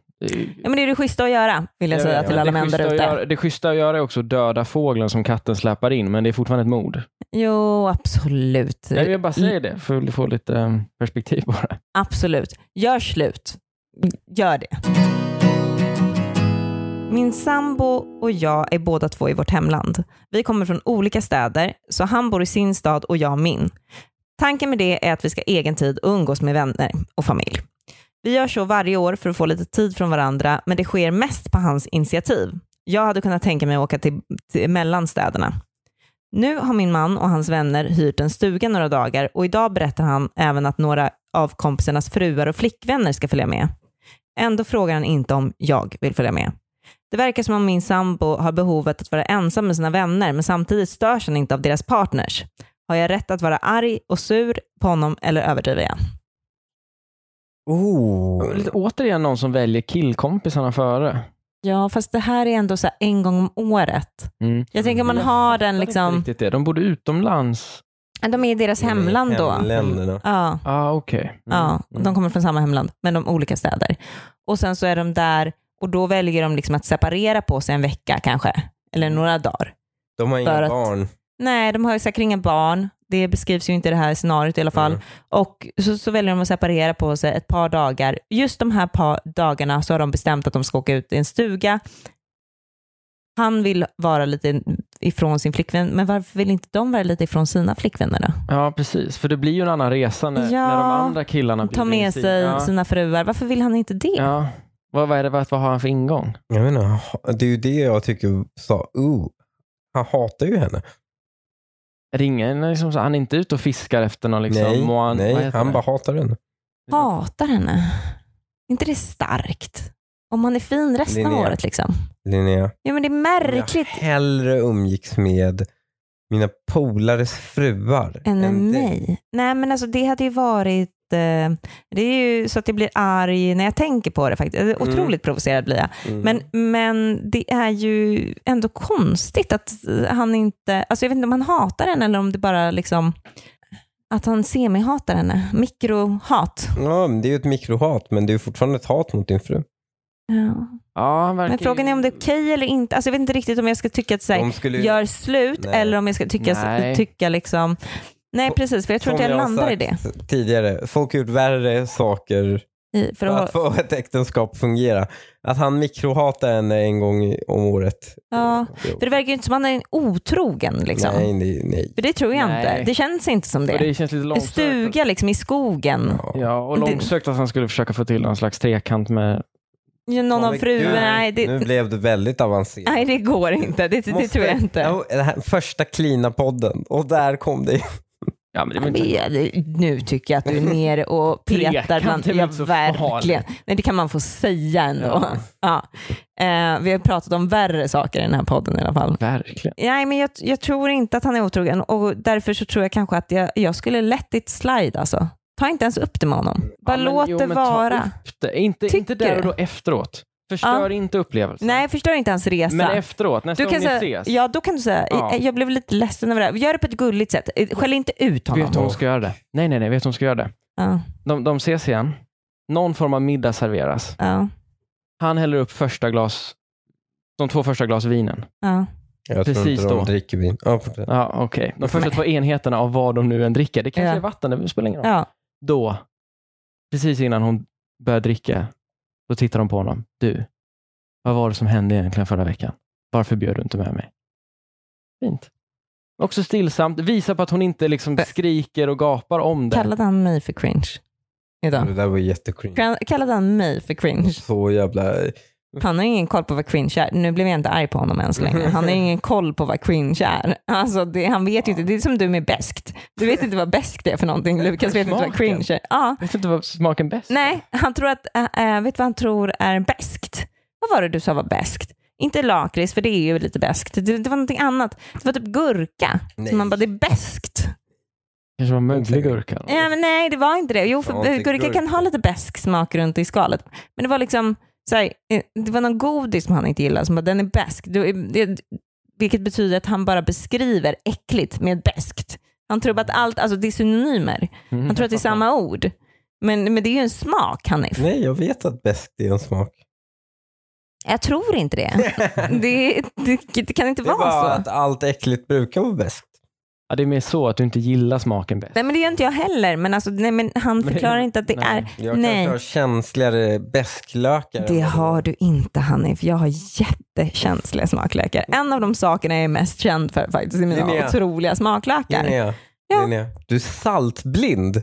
S1: Ja, men det är det schyssta att göra, vill jag
S3: Ja,
S1: säga
S3: ja,
S1: till
S2: det
S1: alla män
S2: schyssta
S1: där
S2: att
S1: ute.
S2: göra- Det schyssta att göra är också att döda fågeln som katten släpar in, men det är fortfarande ett mord.
S1: Jo, absolut.
S2: Nej, Jag bara säger det för att få lite eh, perspektiv på det.
S1: Absolut. Gör slut. Gör det. Min sambo och jag är båda två i vårt hemland. Vi kommer från olika städer, så han bor i sin stad och jag min. Tanken med det är att vi ska ha egen tid och umgås med vänner och familj. Vi gör så varje år för att få lite tid från varandra, men det sker mest på hans initiativ. Jag hade kunnat tänka mig att åka till, till, mellan städerna. Nu har min man och hans vänner hyrt en stuga några dagar och idag berättar han även att några av kompisarnas fruar och flickvänner ska följa med. Ändå frågar han inte om jag vill följa med. Det verkar som om min sambo har behovet att vara ensam med sina vänner men samtidigt störs han inte av deras partners. Har jag rätt att vara arg och sur på honom eller överdriver jag?
S3: Oh.
S2: Lite, återigen någon som väljer killkompisarna före.
S1: Ja, fast det här är ändå så en gång om året.
S2: Mm.
S1: Jag tänker man
S2: Jag
S1: har den
S2: fattar inte
S1: liksom,
S2: riktigt det. De bodde utomlands.
S1: de är i deras hemland då.
S3: Hemländerna.
S1: Ja.
S2: Ah, okej.
S1: Ja, och
S2: mm.
S1: de kommer från samma hemland, men de olika städer. Och sen så är de där och då väljer de liksom att separera på sig en vecka kanske, eller
S2: Mm.
S1: några dagar.
S3: De har
S1: För
S3: inga
S1: att-
S3: barn.
S1: Nej, de har ju säkert inga barn. Det beskrivs ju inte i det här scenariot i alla fall.
S3: Mm.
S1: Och så, så väljer de att separera på sig ett par dagar. Just de här par dagarna så har de bestämt att de ska åka ut i en stuga. Han vill vara lite ifrån sin flickvän, men varför vill inte de vara lite ifrån sina flickvänner då?
S2: Ja, precis. För det blir ju en annan resa när,
S1: Ja.
S2: när de andra killarna
S1: Ta
S2: bjuder in
S1: med
S2: sin-
S1: sig
S2: Ja.
S1: sina fruar. Varför vill han inte det?
S2: Ja. Vad, vad, är det, vad, vad har han för ingång?
S3: Jag menar, ha- det är ju det jag tycker sa, oh, han hatar ju henne.
S2: Ringen är liksom, så- han är inte ute och fiskar efter någon liksom,
S3: nej,
S2: Moan, vad
S3: nej
S2: heter
S3: han
S2: det?
S3: bara hatar henne.
S1: hatar henne. inte det starkt? Om han är fin resten av
S3: Linnea.
S1: året liksom.
S3: Linnea.
S1: Ja men det är
S3: Om
S1: märkligt.
S3: Jag hellre umgicks med mina polares fruar.
S1: Än med
S3: dig.
S1: mig. Nej men alltså det hade ju varit, eh, det är ju så att jag blir arg när jag tänker på det faktiskt. Eller, Otroligt provocerad blir jag.
S3: Mm.
S1: Men, men det är ju ändå konstigt att eh, han inte, alltså jag vet inte om han hatar henne eller om det bara liksom, att han semi-hatar henne. Mikrohat.
S3: Ja, men det är ju ett mikrohat, men det är ju fortfarande ett hat mot din fru.
S1: Ja.
S2: Ja, han verkar
S1: Men frågan är om det är okej eller inte. Alltså jag vet inte riktigt om jag ska tycka att så här,
S3: De skulle ju-
S1: gör slut
S3: Nej.
S1: eller om jag ska tycka,
S2: Nej.
S1: tycka liksom... Nej
S3: Och-
S1: precis, för jag tror
S3: som
S1: inte jag,
S3: har
S1: landar i det.
S3: sagt Tidigare, folk har gjort värre saker
S1: I, för
S3: för
S1: att,
S3: att få ett äktenskap fungera. Att han mikrohatar henne en gång i- om året.
S1: ja,
S3: Jo.
S1: för det verkar ju inte som att han är otrogen. Liksom.
S3: Nej, nej, nej.
S1: För det tror jag
S2: Nej.
S1: inte. Det känns inte som
S2: Och
S1: det.
S2: det känns lite
S1: En
S2: långsökt.
S1: stuga liksom i skogen.
S2: Ja, och
S1: Det-
S2: långsökt att han skulle försöka få till någon slags trekant med...
S1: Ja. Någon
S3: Ja,
S1: av
S3: men
S1: fruarna.
S3: gud,
S1: Nej,
S3: Nu
S1: det-
S3: blev det väldigt avancerat.
S1: nej, det går inte. Det, det
S3: Måste-
S1: tror jag inte.
S3: Ja, det här, första Klina-podden och där kom det.
S2: Ja, men det var
S1: Men,
S2: inte...
S1: det- nu tycker jag att du är nere och petar
S2: Trekant
S1: bland...
S2: är väl
S1: Ja,
S2: inte så
S1: verkligen. Nej, det kan man få säga ändå. Ja.
S2: Ja.
S1: Eh, vi har pratat om värre saker i den här podden i alla fall.
S2: Verkligen.
S1: Nej, men jag, jag tror inte att han är otrogen och därför så tror jag kanske att jag, jag skulle lätt it slide alltså. Ta inte ens upp det med honom. Bara
S2: Ja, men
S1: låt
S2: jo,
S1: det
S2: men ta
S1: vara.
S2: upp det. Inte, inte
S1: Tycker
S2: där och
S1: du?
S2: då efteråt. Förstör inte upplevelsen.
S1: Nej, förstör inte hans resa.
S2: Men efteråt, nästa
S1: du
S2: gång
S1: kan
S2: ni
S1: säga,
S2: ses.
S1: ja, då kan du säga,
S2: Ja.
S1: jag blev lite ledsen över det här. Gör det på ett gulligt sätt. Eh, Skäll inte ut honom.
S2: Vet du hon ska göra det? Nej, nej, nej. Vet du hon ska göra det?
S1: Ja,
S2: De, de ses igen. Någon form av middag serveras.
S1: ja,
S2: Han häller upp första glas, de två första glas vinen.
S1: ja.
S3: Jag tror
S2: Precis
S3: inte de
S2: då.
S3: dricker vin. Ja, fortsätt.
S2: Ja, okej. De första två enheterna av vad de nu än dricker. Det kanske
S1: Ja.
S2: är vatten, det spelar ingen roll.
S1: ja.
S2: Då, precis innan hon börjar dricka, då tittar de på honom. Du, vad var det som hände egentligen förra veckan? Varför bjöd du inte med mig? Fint. Också stillsamt. Visa på att hon inte liksom skriker och gapar om det.
S1: Kallade han mig för cringe
S3: Det
S1: idag?
S3: där var jättecringe.
S2: Mm.
S1: Kan- Kallade han mig för cringe?
S3: Så jävla...
S1: Han har ingen koll på vad cringe är. Nu blev jag inte arg på honom än så länge. Han har ingen koll på vad cringe är. Alltså det, han vet ju inte. Det är som du med bäst. Du vet inte vad bäst är för någonting. Lukas vet inte vad cringe är. Ja.
S2: Vet inte vad smaken bäst
S1: Nej, han tror att, äh, äh, vet du vad han tror är bäst? Vad var det du sa var bäst? Inte lakrits, för det är ju lite bäst. Det, det var någonting annat. Det var typ gurka.
S3: Nej.
S1: Så man bara, det är bäst.
S2: Kanske var möglig gurka.
S1: Ja, men nej, det var inte det. Jo, för
S3: Ja, inte
S1: gurka kan
S3: gurka.
S1: ha lite besk smak runt i skalet. Men det var liksom, så här, eh, det var någon godis som han inte gillade, som bara, den är besk. Du- det- Vilket betyder att han bara beskriver äckligt med beskt. Han tror att allt, alltså det är synonymer.
S2: Mm.
S1: Han tror att det är samma ord. Men, men det är ju en smak, Hanif.
S3: Nej, jag vet att bäst är en smak.
S1: Jag tror inte det. Det, det, det kan inte
S3: Det är
S1: vara så.
S3: bara att allt äckligt brukar vara bäst.
S2: Ja, det är mer så att du inte gillar smaken bäst.
S1: Nej men det gör inte jag heller. Men, alltså, nej, men han
S2: Men-
S1: förklarar inte att det
S2: nej.
S1: är...
S3: Jag
S1: Nej.
S3: kanske har känsligare besklökar. än
S1: Det
S3: vad du
S1: har du inte Hanni, för jag har jättekänsliga smaklökar. En av de sakerna jag är mest känd för faktiskt är mina
S3: Linnea.
S1: otroliga smaklökar.
S3: Linnea,
S1: Ja.
S3: Linnea, du är saltblind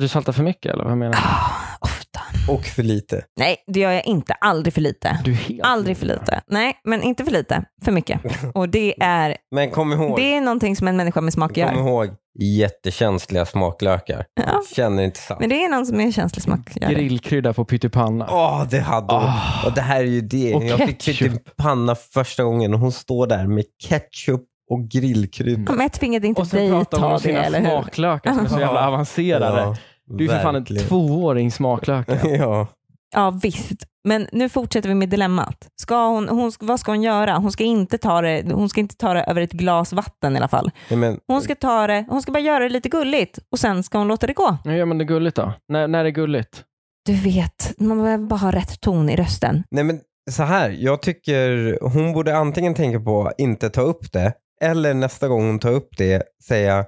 S2: Du saltar för mycket eller vad menar du?
S1: Ah, ofta.
S3: och för lite.
S1: Nej, det gör jag inte. Aldrig för lite.
S2: du är helt
S1: Aldrig för lite. Nej, men inte för lite. För mycket. Och det är,
S3: Men kom ihåg,
S1: det är någonting som en människa med smak
S3: kom
S1: gör.
S3: ihåg jättekänsliga smaklökar.
S1: Ja.
S3: Känner inte salt.
S1: Men det är någon som är känslig smak. Gör det.
S2: Grillkrydda på pyttipanna.
S3: Åh, det hade hon.
S2: Ah.
S3: Och det här är ju det.
S2: Och
S3: jag fick
S2: ketchup.
S3: lite panna första gången och hon står där med ketchup och grillkrydda.
S1: Om ett fingret inte
S2: Och sen
S1: dig
S2: pratar hon
S1: ta
S2: om
S1: det,
S2: sina
S1: eller hur?
S2: smaklökar som är så jävla avancerade. du är för fan en
S3: verkligen.
S2: tvååring smaklökar.
S3: Ja.
S1: Ja visst, men nu fortsätter vi med dilemmat. Ska hon, hon, vad ska hon göra? Hon ska, inte ta det, hon ska inte ta det över ett glas vatten i alla fall.
S3: Nej, men,
S1: Hon ska, ta det, hon ska bara göra det lite gulligt och sen ska hon låta det gå.
S2: Nu gör man det gulligt då? När, när är gulligt?
S1: Du vet, man behöver bara ha rätt ton i rösten.
S3: nej men så här, jag tycker hon borde antingen tänka på att inte ta upp det eller nästa gång hon tar upp det säga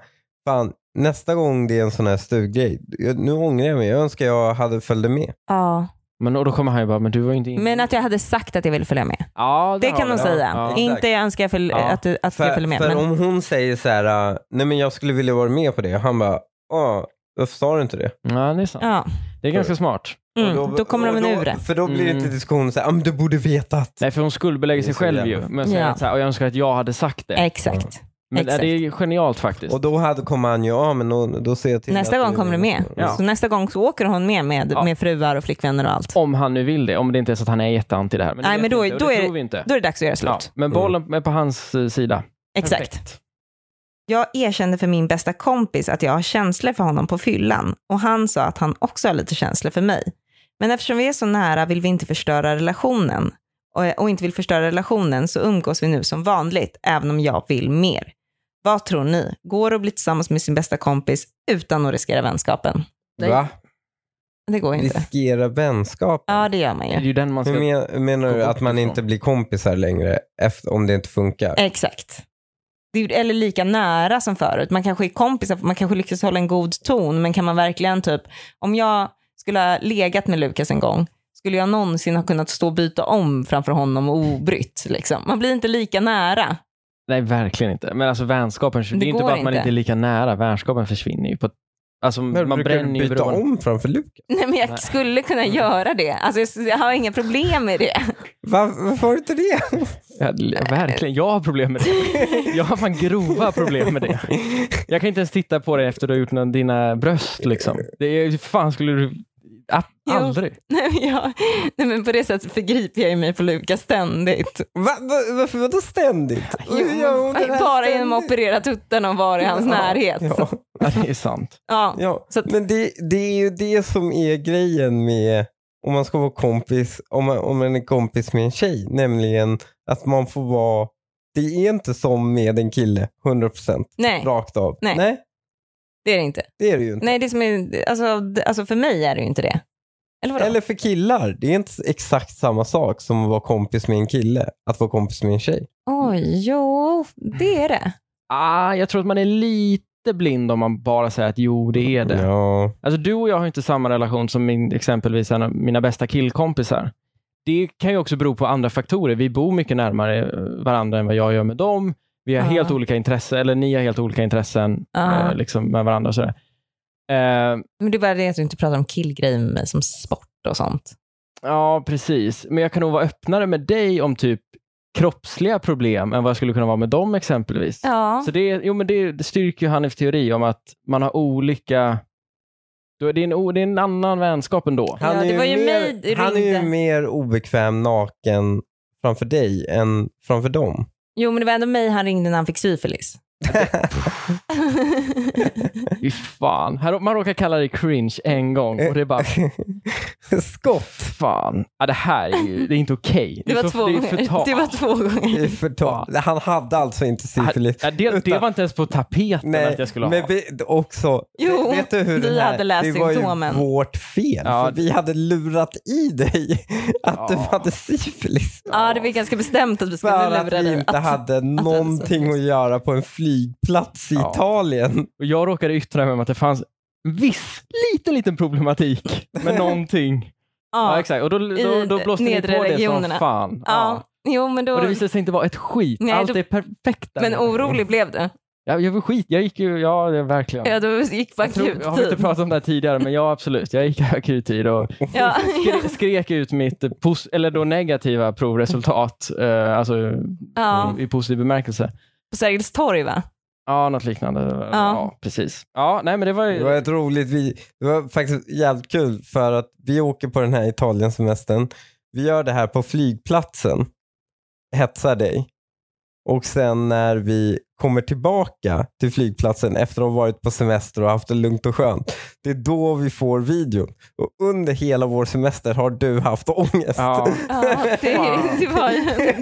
S3: fan nästa gång det är en sån här stuggrej, jag- nu ångrar jag mig, jag önskar jag hade följde med.
S1: Ja.
S2: Men, och då kommer han ju bara, men du var ju inte inne.
S1: Men att jag hade sagt att jag ville följa med.
S2: ja,
S1: Det
S2: där
S1: kan
S2: har
S1: hon
S2: vi
S1: säga.
S2: Ja, ja.
S3: In-
S1: Inte jag önskar jag följ,
S2: Ja.
S1: att, du- att jag
S3: För,
S1: följer med.
S3: för
S1: Men,
S3: om hon säger så här, äh, nej men jag skulle vilja vara med på det, och han bara, ah, varför sa du inte det?
S2: ja, det är sant.
S1: ja.
S2: Det är ganska smart.
S1: mm.
S3: Och
S1: då, kommer de
S3: och
S1: en
S3: då-
S1: ur det.
S3: För då blir det inte
S2: Mm.
S3: diskussion så här, ah, men du borde vetat.
S2: Nej, för hon skuldbelägger
S3: Det är
S2: sig
S3: så
S2: själv
S3: jävla-
S2: ju. Men sen
S1: Ja.
S2: är det så här, och jag önskar att jag hade sagt det.
S1: Exakt.
S2: Men är
S1: exakt.
S2: det är genialt faktiskt.
S3: Och då hade, kommer han ju, ja men då, då ser jag till
S1: Nästa
S3: att Mm.
S1: gång kommer du med.
S2: Ja.
S1: Så nästa gång så åker hon med med,
S2: Ja.
S1: med fruar och flickvänner och allt.
S2: Om han nu vill det, om det inte är så att han är jätteanti det här. Men det
S1: Nej,
S2: vet
S1: men då-
S2: vi inte, och
S1: då
S2: det
S1: är-
S2: tror vi inte.
S1: Då är det dags att göra slut.
S2: Ja, men bollen
S3: Mm.
S2: är på hans eh, sida.
S1: Exakt.
S2: Perfekt.
S1: Jag erkände för min bästa kompis att jag har känslor för honom på fyllan och han sa att han också har lite känslor för mig. Men eftersom vi är så nära vill vi inte förstöra relationen och, och inte vill förstöra relationen så umgås vi nu som vanligt även om jag vill mer. Vad tror ni? Går det att bli tillsammans med sin bästa kompis utan att riskera vänskapen? Nej.
S3: Va?
S1: Det går ju inte.
S3: Riskera vänskap?
S1: Ja, det gör man
S2: Det är
S1: ju.
S2: ju den man
S3: Hur
S2: ska...
S3: men, menar
S2: gå
S3: du
S2: bort
S3: att man
S2: ifrån.
S3: inte blir kompisar längre efter, om det inte funkar?
S1: Eh, Exakt. Det är ju- Eller lika nära som förut. Man kanske är kompisar, man kanske lyckas hålla en god ton, men kan man verkligen typ, om jag skulle ha legat med Lukas en gång, skulle jag någonsin ha kunnat stå och byta om framför honom obrytt? Liksom? Man blir inte lika nära.
S2: Nej, verkligen inte. Men alltså vänskapen, det,
S1: Det
S2: är inte
S1: går
S2: bara att man
S1: inte.
S2: inte är lika nära. Vänskapen försvinner ju. På... Alltså,
S3: Men
S2: man
S3: brukar du
S2: bränner ju
S3: byta
S2: bron.
S3: om framför Lukas?
S1: Nej, men jag
S2: Nej.
S1: skulle kunna
S3: Mm.
S1: göra det. Alltså, jag s- jag har inga problem med det.
S3: Va, varför har du inte det?
S2: Ja, l- verkligen, jag har problem med det. Jag har fan grova problem med det. Jag kan inte ens titta på dig efter du har gjort någon, dina bröst. Liksom. Det är, hur fan skulle du... Ah,
S1: Jo.
S2: aldrig.
S1: Nej, men jag, nej, men på det sättet förgriper jag ju mig på Lukas ständigt.
S3: Va, va, varför vadå ständigt? Hur gör hon det här
S1: Bara genom att
S3: ständigt?
S1: operera tuttarna och vara i hans
S3: Ja,
S1: närhet.
S3: Ja,
S2: Ja, det är sant.
S1: Ja.
S3: ja.
S1: Så att-
S3: Men det, det är ju det som är grejen med om man ska vara kompis, om man, om man är kompis med en tjej, nämligen att man får vara, det är inte som med en kille, 100%
S1: Nej,
S3: rakt av.
S1: Nej.
S3: Nej,
S1: det är det inte.
S3: det är det ju inte.
S1: Nej, det som är, alltså, d- alltså för mig är det ju inte det. Eller vadå?
S3: Eller för killar, det är inte exakt samma sak som att vara kompis med en kille, att vara kompis med en tjej.
S1: Oj, jo, det är det.
S2: Ah, jag tror att man är lite blind om man bara säger att jo, det är det.
S3: Ja,
S2: Alltså, du och jag har inte samma relation som min, exempelvis en av mina bästa killkompisar. Det kan ju också bero på andra faktorer. Vi bor mycket närmare eh, varandra än vad jag gör med dem. Vi har
S1: Ja.
S2: helt olika intressen, eller ni har helt olika intressen
S1: Ja.
S2: eh, liksom med varandra. Och sådär. Eh,
S1: Men det är bara det att du inte pratar om killgrejer med mig som sport och sånt.
S2: ja, precis. Men jag kan nog vara öppnare med dig om typ kroppsliga problem än vad jag skulle kunna vara med dem exempelvis.
S1: Ja.
S2: Så det, jo, men det, det styrker ju Hanifs teori om att man har olika... då är Det är en, o- det är en annan vänskap ändå.
S1: Ja, det var ju mig du
S3: mer, han är ju
S1: ringde.
S3: mer obekväm naken framför dig än framför dem.
S1: Jo, men det var ändå mig han ringde när han fick syfilis.
S3: Eh,
S2: Fy fan. Här, man råkar kalla det cringe en gång och det är bara
S3: skott
S2: Fan. Ja, det här är ju det är inte okej. Det,
S1: Det
S2: är
S1: var,
S2: så-
S1: två
S2: det är
S1: gånger.
S2: förtal.
S1: det var två gånger.
S3: i förtal. Han hade alltså inte syfilis.
S2: Ja, det, det
S3: Utan-
S2: var inte ens på tapeten
S3: Nej,
S2: att jag skulle ha.
S3: men vi, också,
S1: Jo,
S3: vet du hur
S1: vi
S3: den här,
S1: hade läst
S3: det var
S1: symptomen.
S3: ju vårt fel.
S2: Ja.
S3: För vi hade lurat i dig att du
S2: Ja.
S3: hade syfilis.
S1: Ja, det var ganska bestämt att vi skulle
S3: För
S1: lura
S3: att vi
S1: dig.
S3: inte hade någonting att göra på en flygplats i
S2: Ja.
S3: Italien.
S2: Och jag råkade yttra mig om att det fanns viss liten, liten problematik med någonting. ja,
S1: Ja,
S2: exakt. Och då, då, då
S1: I
S2: blåste ni på
S1: nedre
S2: det som
S1: regionerna.
S2: fan.
S1: ja. Jo, men
S2: Och det
S1: då...
S2: visade sig inte vara ett skit.
S1: Nej,
S2: Allt
S1: då-
S2: är perfekt. där
S1: Men
S2: nere.
S1: orolig blev du.
S2: Ja, jag var skit. Jag gick ju, ja det- verkligen.
S1: Ja, typ. du gick på
S2: Jag tror- jag har inte
S1: akuttid.
S2: pratat om det här tidigare, men ja absolut. Jag gick akuttid och
S1: Ja,
S2: skre- skrek ut mitt eh, pos- eller då negativa provresultat, eh, alltså
S1: ja.
S2: i, i positiv bemärkelse.
S1: På Sergels torg, va?
S2: Ja, något liknande. Ja. precis. Ja, nej men det var ju...
S3: Det var ett roligt, vi, det var faktiskt jävligt kul för att vi åker på den här Italiensemestern. Vi gör det här på flygplatsen, hetsar dig. Och sen när vi kommer tillbaka till flygplatsen efter att ha varit på semester och haft det lugnt och skönt. Det är då vi får videon. Och under hela vår semester har du haft ångest.
S2: Ja.
S1: Ja, det, det, var,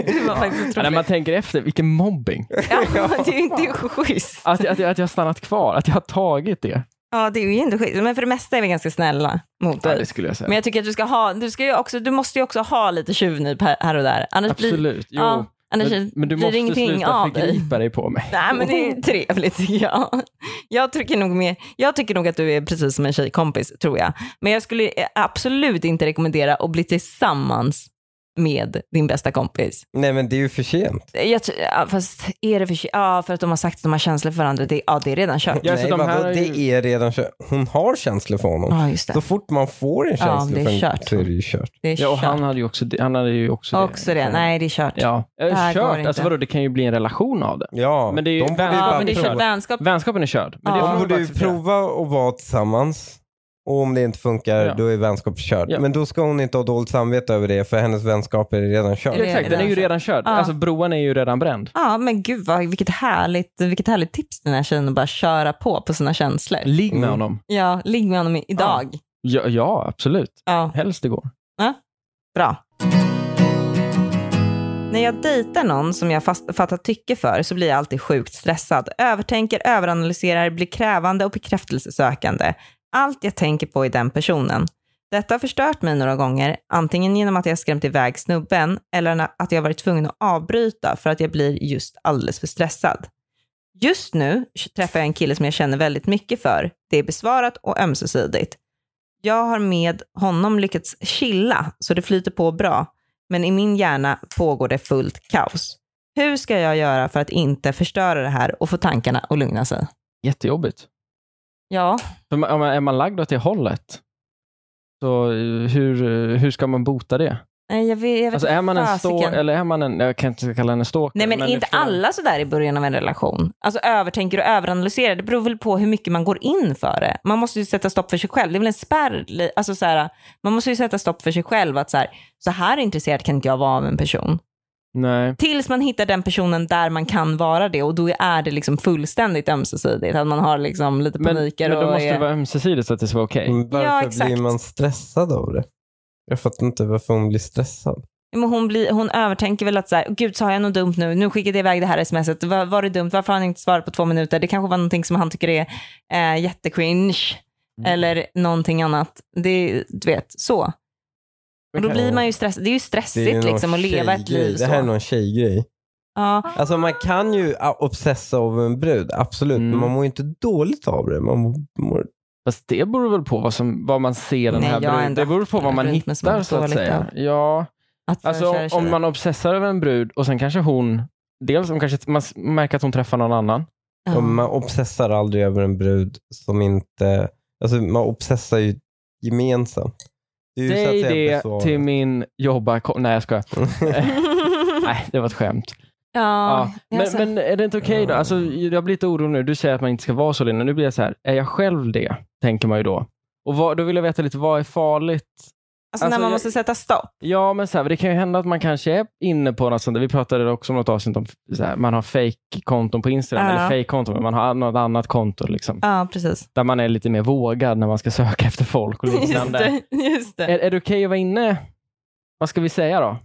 S1: det var faktiskt
S2: Ja, när
S1: otroligt.
S2: man tänker efter, vilken mobbing.
S1: Ja, det är ju inte schysst.
S2: Att, att, att jag har stannat kvar, att jag har tagit det.
S1: Ja, det är ju inte schysst. Men för det mesta är vi ganska snälla mot
S2: Ja,
S1: dig.
S2: det skulle jag säga.
S1: Men jag tycker att du ska ha, du, ska ju också, du måste ju också ha lite tjuvnyp här, här och där. Annars blir,
S2: Absolut. Jo.
S1: ja, annars
S2: men, men
S1: blir
S2: du
S1: det
S2: måste
S1: ingenting
S2: sluta
S1: av dig.
S2: förgripa dig på mig.
S1: Nej men det är trevligt tycker jag. Jag tycker, nog med, jag tycker nog att du är precis som en tjejkompis tror jag. Men jag skulle eh, absolut inte rekommendera att bli tillsammans med din bästa kompis.
S3: Nej men det är ju för sent.
S1: Jag, ty- ja, fast är det för, ja, för att de har sagt att de har känslor för varandra, det, ja det är redan kört.
S2: Ja, så
S3: Nej,
S2: de här
S3: vadå?
S2: är ju-
S3: Det är redan kö- Hon har känslor för honom.
S1: Ja just
S3: Så
S1: det,
S3: fort man får en
S1: Ja,
S3: känsla
S1: det är
S3: för en,
S1: kört.
S3: så är det ju kört.
S1: det är
S2: Ja, och
S1: kört.
S2: han hade ju också det. Han hade ju också,
S1: Också det, nej det är kört.
S2: Ja.
S1: Det här
S2: Eh,
S1: går
S2: Kört,
S1: inte.
S2: alltså vadå, det kan ju bli en relation av det.
S3: Ja,
S2: Men det är ju-
S3: de borde ju
S2: Ja,
S1: Ja,
S3: bara
S1: men det är
S3: prova.
S1: kört vänskap.
S2: Vänskapen är körd. Men
S1: Ja.
S2: det får
S3: De
S1: Ja.
S2: man
S3: borde
S2: bara
S3: ju
S2: acceptera.
S3: prova att vara tillsammans. Och om det inte funkar,
S2: Ja.
S3: då är vänskap körd.
S2: Ja.
S3: Men då ska hon inte ha dåligt samvete över det, för hennes vänskap är redan körd.
S2: Ja, exakt, den är ju redan körd.
S1: Ja.
S2: Alltså broan är ju redan bränd.
S1: Ja men gud vad, vilket, härligt, vilket härligt tips den här tjejen att bara köra på på sina känslor.
S2: Ligg med
S3: Mm.
S2: honom.
S1: Ja, ligg med honom i- idag.
S2: Ja, ja, absolut.
S1: Ja.
S2: Helst det går.
S1: Bra. När jag dejtar någon som jag fast, fattar tycke för så blir jag alltid sjukt stressad. Övertänker, överanalyserar, blir krävande och bekräftelsesökande. Allt jag tänker på är den personen. Detta har förstört mig några gånger, antingen genom att jag skrämt iväg snubben eller na- att jag varit tvungen att avbryta för att jag blir just alldeles för stressad. Just nu träffar jag en kille som jag känner väldigt mycket för. Det är besvarat och ömsesidigt. Jag har med honom lyckats chilla så det flyter på bra, men i min hjärna pågår det fullt kaos. Hur ska jag göra för att inte förstöra det här och få tankarna att lugna sig?
S2: Jättejobbigt.
S1: Ja,
S2: För man, om man- är man lagd åt det hållet, så eh, hur, eh, hur ska man bota det?
S1: nej, jag vet, jag vet
S2: Alltså är man en
S1: fasiken.
S2: stalker, eller är man en, jag kan inte kalla henne stalker. liksom-
S1: Nej men,
S2: du
S1: inte
S2: förstår.
S1: alla sådär i början av en relation. Alltså övertänker och överanalyserar, det beror väl på hur mycket man går in för det. Man måste ju sätta stopp för sig själv, det är väl en spärr. li- Alltså så här, man måste ju sätta stopp för sig själv att så här, så här intresserad kan inte jag vara av en person.
S2: Nej.
S1: Tills man hittar den personen där man kan vara det och då är det liksom fullständigt ömsesidigt. Att man har liksom lite
S2: Men, men
S1: paniker
S2: då
S1: och
S2: måste
S1: är...
S2: det vara ömsesidigt så att det ska vara okej.
S3: Men Varför
S1: exakt.
S3: blir man stressad av det? Jag fattar inte varför hon blir stressad.
S1: Men hon, blir, hon övertänker väl att så här, gud sa jag något dumt nu? Nu skickade jag iväg det här smset. Var, var det dumt? Varför har han inte svarat på två minuter? Det kanske var någonting som han tycker är eh, jättecringe.
S2: Mm.
S1: Eller någonting annat. Det, du vet, så. Och då
S2: Okej.
S1: blir man ju stressad. Det är ju
S3: Det är
S1: stressigt
S3: ju någon
S1: liksom att leva ett
S3: tjejgrej.
S1: liv
S3: Det här är
S1: så.
S3: någon tjejgrej.
S1: Ja,
S3: Alltså man kan ju ah, obsessa över en brud, absolut.
S2: Mm.
S3: Men man mår ju inte dåligt av det. Man mår, mår...
S2: Fast det beror väl på vad, som, vad man ser den
S1: Nej,
S2: här
S1: jag har
S2: bruden.
S1: ändå
S2: Det beror på
S1: haft
S2: vad man
S1: brud, men som
S2: hittar
S1: har
S2: så att
S1: dåligt
S2: säga. Ja,
S1: att
S2: alltså
S1: föra
S2: om
S1: tjejer.
S2: man obsessar över en brud och sen kanske hon, dels om kanske man s- märker att hon träffar någon annan.
S1: Ja.
S3: Och Man obsessar aldrig över en brud som inte... Alltså man obsessar ju gemensamt. Det är ju så att
S2: Säg
S3: säga
S2: det
S3: besvarat.
S2: till min jobbarkompis. Nej jag skojar. Nej, det var ett skämt.
S1: ja,
S2: Ja, men,
S1: alltså-
S2: men är det inte okej då? Alltså, jag blir lite orolig nu. Du säger att man inte ska vara så Linda. Nu blir jag så här, är jag själv det? Tänker man ju då. Och vad, då vill jag veta lite, vad är farligt?
S1: Alltså,
S2: Alltså,
S1: när man
S2: jag-
S1: måste sätta stopp.
S2: Ja, men så här, det kan ju hända att man kanske är inne på något sånt. där. Vi pratade också om något avsnitt om så här, man har fake-konton på Instagram,
S1: Ja.
S2: eller fake-konton, men man har något annat konto liksom,
S1: Ja, precis.
S2: där man är lite mer vågad när man ska söka efter folk och
S1: Just
S2: liknande.
S1: det. Just det.
S2: Är, är det okej att vara inne, vad ska vi säga då?
S1: Eh,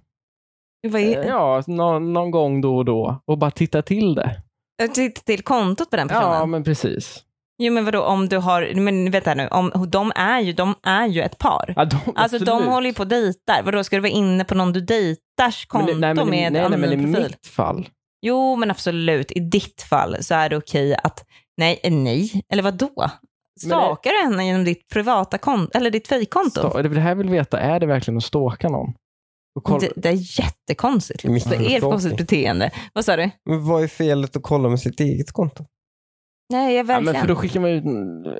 S2: Eh,
S1: Vad är,
S2: Ja, nå- någon gång då och då och bara titta till det.
S1: Jag tittar eh, till kontot på den personen.
S2: Ja, men precis.
S1: Jo men vadå om du har, men vänta nu, om, de, är ju, de är ju ett par.
S2: Ja, de,
S1: Alltså de
S2: absolut.
S1: håller ju på och dejtar, vadå ska du vara inne på någon du dejtars
S2: Men
S1: konto
S2: det- nej, men det-
S1: med
S2: nej, nej, men i
S1: anonym profil?
S2: mitt fall.
S1: Jo men absolut, i ditt fall så är det okej att, nej, eh, nej, eller vadå? Stalkar du henne genom ditt privata konto, eller ditt fejkkonto?
S2: Sta- det är det här jag vill veta, är det verkligen att stalka någon? Och kolla,
S1: Det, det är jättekonstigt.
S3: Det är mycket
S1: Liksom. Det är ett
S3: stalking.
S1: konstigt beteende. Vad sa du?
S3: Men vad är felet att kolla med sitt eget konto?
S1: Nej, jag
S2: ja,
S1: verkligen.
S2: men för då skickar man ut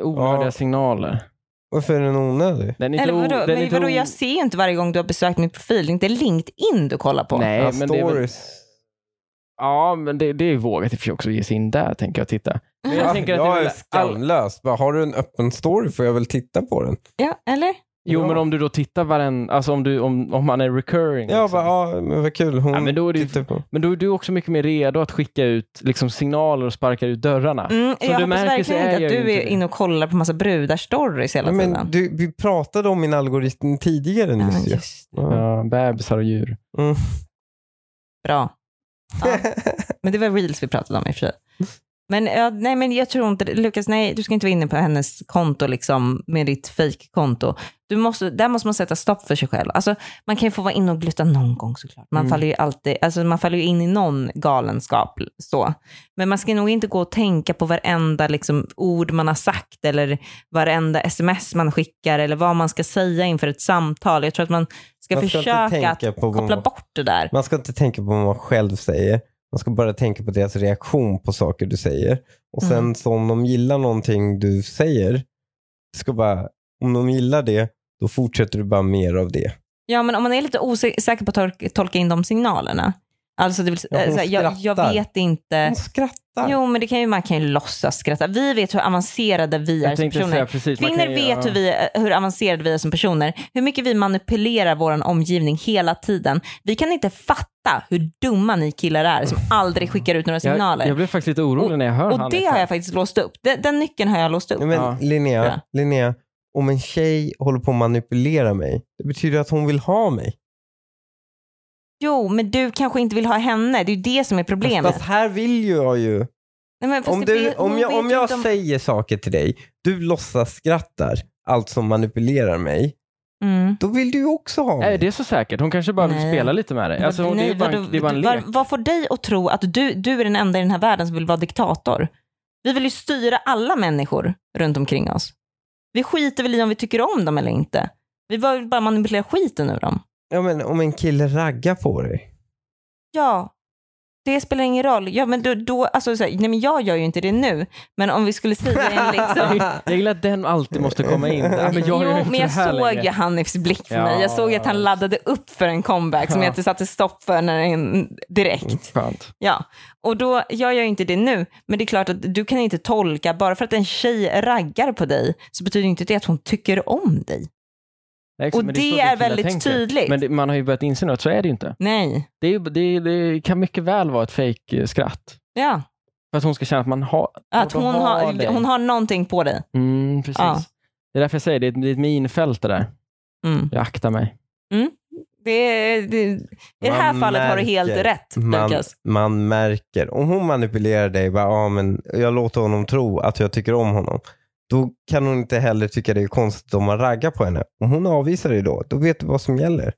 S2: onödiga
S3: Ja.
S2: signaler.
S3: Varför är den onödig?
S2: Den är
S1: Eller
S2: inte o-
S1: vadå?
S2: den är
S1: Men
S2: inte
S1: vadå,
S2: o-
S1: jag ser ju inte varje gång du har besökt min profil. Det är inte LinkedIn du kollar på.
S2: Nej,
S3: Ja,
S2: men det är väl,
S3: stories.
S2: ja, men det, det är vågat i och för sig också att ge sig in där, tänker jag. Titta. Men jag
S3: Ja,
S2: tänker att det
S3: Ah, jag
S2: är
S3: är
S2: väl all,
S3: skamlös. Bara, har du en öppen story får jag väl titta på den.
S1: Ja, eller? Mm,
S2: jo,
S3: Ja.
S2: men om du då tittar varenda... Alltså om, du, om, om man är recurring.
S3: Ja,
S2: liksom.
S3: bara, ja men vad kul. Hon
S2: Ja, men då är det ju-
S3: tittar på.
S2: Men då är du också mycket mer redo att skicka ut liksom, signaler och sparka ut dörrarna.
S1: Mm,
S2: Som
S1: jag
S2: du
S1: hoppas
S2: märker så
S1: verkligen
S2: är
S1: inte
S2: jag
S1: att
S2: ju
S1: du är
S2: inte det.
S1: inne och kollar på massa brudar-stories hela
S3: Ja, men
S1: tiden.
S3: du, vi pratade om min algoritm tidigare
S1: Ja,
S3: nyss. ju.
S1: just
S3: Ja.
S2: Ja, bebisar och djur.
S3: Mm.
S1: Bra. Ja. Men det var reels vi pratade om i och för sig. Men, ja, nej, men jag tror inte, Lukas, nej, du ska inte vara inne på hennes konto liksom, med ditt fejkkonto. Du måste, där måste man sätta stopp för sig själv. Alltså, man kan ju få vara inne och glutta någon gång såklart. Man,
S3: Mm.
S1: faller ju alltid, alltså, man faller ju in i någon galenskap. Så. Men man ska nog inte gå och tänka på varenda liksom, ord man har sagt eller varenda sms man skickar eller vad man ska säga inför ett samtal. Jag tror att man ska,
S3: Man ska inte
S1: försöka
S3: tänka
S1: att
S3: på vad
S1: koppla
S3: man-
S1: bort det där.
S3: Man ska inte tänka på vad man själv säger. Man ska bara tänka på deras reaktion på saker du säger. Och sen
S1: Mm.
S3: så om de gillar någonting du säger, ska bara, om de gillar det, då fortsätter du bara mer av det.
S1: Ja, men om man är lite osäker på att tolka, tolka in de signalerna. Alltså, det vill,
S3: Ja, hon
S1: eh, såhär, jag, jag
S3: skrattar.
S1: vet
S3: De
S1: inte.
S3: skrattar.
S1: Eh, Jo, men det kan ju, man kan ju låtsas skratta. Vi vet hur avancerade vi är
S2: Jag
S1: som
S2: tänkte
S1: personer.
S2: säga precis. man
S1: Kvinnor
S2: kan ju-
S1: vet hur, vi, eh, hur avancerade vi är som personer. Hur mycket vi manipulerar vår omgivning hela tiden. Vi kan inte fatta hur dumma ni killar är som aldrig skickar ut några signaler.
S2: Jag, jag blev faktiskt lite orolig när jag hör
S1: och det har jag faktiskt låst upp. Den, den nyckeln har jag låst upp.
S3: Nej, men
S2: Ja.
S3: Linnea,
S1: Ja.
S3: Linnea, om en tjej håller på att manipulera mig, det betyder att hon vill ha mig.
S1: Jo, men du kanske inte vill ha henne. Det är ju det som är problemet.
S3: Fast här vill ju jag ju.
S1: Nej, men fast
S3: Om,
S1: det
S3: du,
S1: vet-
S3: om
S1: hon
S3: jag,
S1: vet
S3: om
S1: ju
S3: jag
S1: inte om-
S3: säger saker till dig, du låtsas skrattar, alltså manipulerar mig,
S1: Mm.
S3: då vill du ju också ha mig.
S2: Nej, det är så säkert. Hon kanske bara vill
S1: Nej.
S2: spela lite med dig. Alltså, hon- det är
S1: Nej,
S2: bara
S1: vadå?
S2: en, det är bara en
S1: Vad-
S2: lek.
S1: Vad får dig att tro att du, du är den enda i den här världen som vill vara diktator? Vi vill ju styra alla människor runt omkring oss. Vi skiter väl i om vi tycker om dem eller inte. Vi bara- vill bara manipulera skiten ur dem.
S3: Ja, men om en kille raggar på dig.
S1: Ja, det spelar ingen roll. Ja, men då, då, alltså, så här, nej, men jag gör ju inte det nu, men om vi skulle säga en liksom...
S2: Jag gillar att den alltid måste komma in. Ja, men jag
S1: jo,
S2: gör ju inte
S1: men jag
S2: det här
S1: såg
S2: längre.
S1: ju Hanifs blick för
S2: Ja,
S1: mig. Jag såg att han
S2: ja.
S1: laddade upp för en comeback som
S2: Ja.
S1: jag inte satte stopp för när den, direkt.
S2: Skönt.
S1: Ja, och då, jag gör ju inte det nu, men det är klart att du kan inte tolka, bara för att en tjej raggar på dig så betyder inte det att hon tycker om
S3: Liksom,
S1: dig.
S2: Nej, exakt,
S1: Och
S2: men
S1: det
S2: så
S1: är
S2: killar
S1: väldigt tydligt.
S2: Men det, man har ju börjat inse nu att så är det ju inte.
S1: Nej,
S2: Det, är, ju- det, det kan mycket väl vara ett eh, fejkskratt.
S1: ja.
S2: För att hon ska känna att man har...
S1: Att hon, har,
S2: dig.
S1: hon har någonting på dig.
S2: Mm, precis.
S1: Ja.
S2: Det är därför jag säger det, är ett- det är ett minfält det där.
S1: Mm.
S2: Jag aktar mig.
S1: Det, det, I det här
S3: Man
S1: fallet har du helt
S3: märker.
S1: rätt,
S3: Man,
S1: Lukas.
S3: man märker. Om hon manipulerar dig, bara, ah, men jag låter honom tro att jag tycker om honom. Då kan hon inte heller tycka det är konstigt om man raggar på henne. Om hon avvisar dig då, då vet du vad som
S1: Mm,
S3: gäller.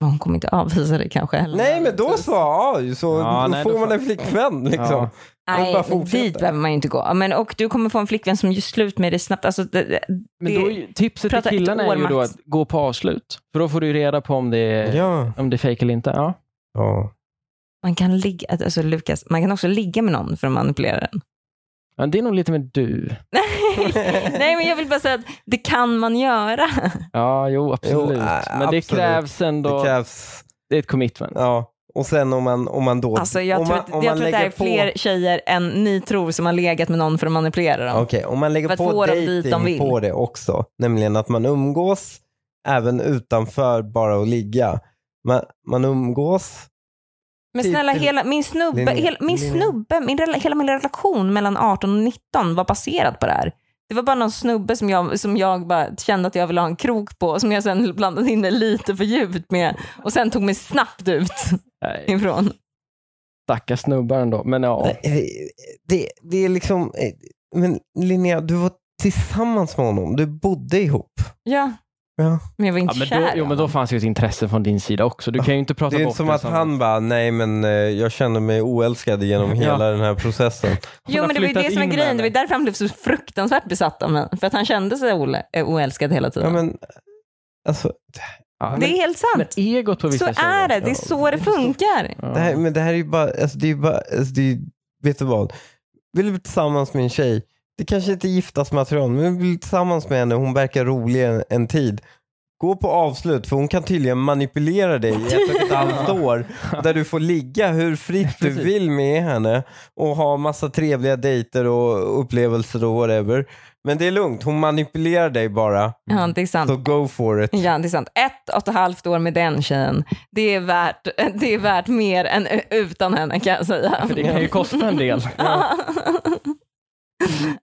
S1: Men Hon kommer inte avvisa dig kanske heller.
S3: Nej, men då så, ja, så
S2: Ja,
S3: då
S2: nej,
S3: får
S2: då
S3: man
S2: får-
S3: en flickvän liksom.
S2: Ja.
S3: Jag vill bara
S1: Nej, men
S3: fortsätta.
S1: dit behöver man ju inte gå. Ja, Men, och du kommer få en flickvän som gör slut med dig snabbt. Alltså, det, det,
S2: Men då är ju, tipset
S1: Prata
S2: till
S1: ett
S2: killarna är
S1: år
S2: ju då
S1: max.
S2: att gå på avslut. För då får du ju reda på om det är,
S3: Ja.
S2: om det är fejk eller inte. Ja.
S3: ja.
S1: man, kan ligga, alltså, Lukas, man kan också ligga med någon för att manipulera den.
S2: Men det är nog lite med du.
S1: Nej, men jag vill bara säga att det kan man göra.
S2: Ja, jo, absolut.
S3: äh,
S2: men det
S3: absolut.
S2: krävs ändå...
S3: Det
S2: Det,
S3: krävs
S2: är ett commitment.
S3: Ja, och sen om man, om man då...
S1: Alltså jag
S3: om
S1: tror
S3: man,
S1: att, jag tror att det här är fler tjejer än ni tror som har legat med någon för att manipulera dem.
S3: Okej, om man
S1: För
S3: lägger
S1: att få
S3: på
S1: dem dit de
S3: dating
S1: vill.
S3: på det också, nämligen att man umgås även utanför bara att ligga. Man, man umgås.
S1: Men
S3: Typ-
S1: snälla, hela, min, snubbe,
S3: Linnea,
S1: hela, min
S3: Linnea.
S1: snubbe, min rela, hela min relation mellan 18 och 19 var baserad på det här. Det var bara någon snubbe som jag, som jag bara kände att jag ville ha en krok på som jag sen blandade in det lite för djupt med och sen tog mig snabbt ut
S2: Nej,
S1: ifrån.
S2: Stackars snubbar ändå. Men ja.
S3: Eh, Det, det är liksom... eh, Men Linnea, du var tillsammans med honom. Du bodde ihop.
S1: Ja.
S3: Ja.
S1: Men jag var
S2: Ja,
S1: inte
S2: men
S1: kär
S2: då,
S1: i
S2: jo,
S1: honom.
S2: men då fanns ju ett intresse från din sida också. Du kan ju inte prata
S3: Det är
S2: bort
S3: inte som att
S2: samma-
S3: han bara, nej men eh, jag känner mig oälskad genom
S2: Ja.
S3: hela den här processen.
S2: Hon
S1: Jo,
S2: har
S1: men det var ju
S2: flyttat
S1: det som var
S2: in
S1: grejen.
S2: med
S1: Det var ju därför han blev så fruktansvärt besatt av mig. För att han kände sig o- oälskad hela
S3: Ja,
S1: tiden.
S3: men, alltså,
S2: Ja,
S1: det är helt sant.
S2: men egot på
S1: så
S2: vissa
S1: är det.
S2: tjejer.
S1: Det är
S2: Ja,
S1: så det funkar.
S2: Ja.
S3: det här, men det här är ju bara, alltså, det är ju bara alltså, det är, ju- vet du vad? Vill du bli tillsammans med en tjej, det kanske inte är giftasmaterial, men vill du bli tillsammans med henne, hon verkar rolig en, en tid. Gå på avslut för hon kan tydligen manipulera dig i ett och ett halvt år där du får ligga hur fritt du
S2: Precis.
S3: vill med henne och ha massa trevliga dejter och upplevelser och whatever. Men det är lugnt, hon manipulerar dig bara.
S1: Ja, det är sant.
S2: Mm.
S3: Så go for it.
S1: Ja, det är sant. Ett och ett halvt år med den tjejen, det är värt, det är värt mer än u- utan henne kan jag säga.
S2: För det kan ju kosta en del.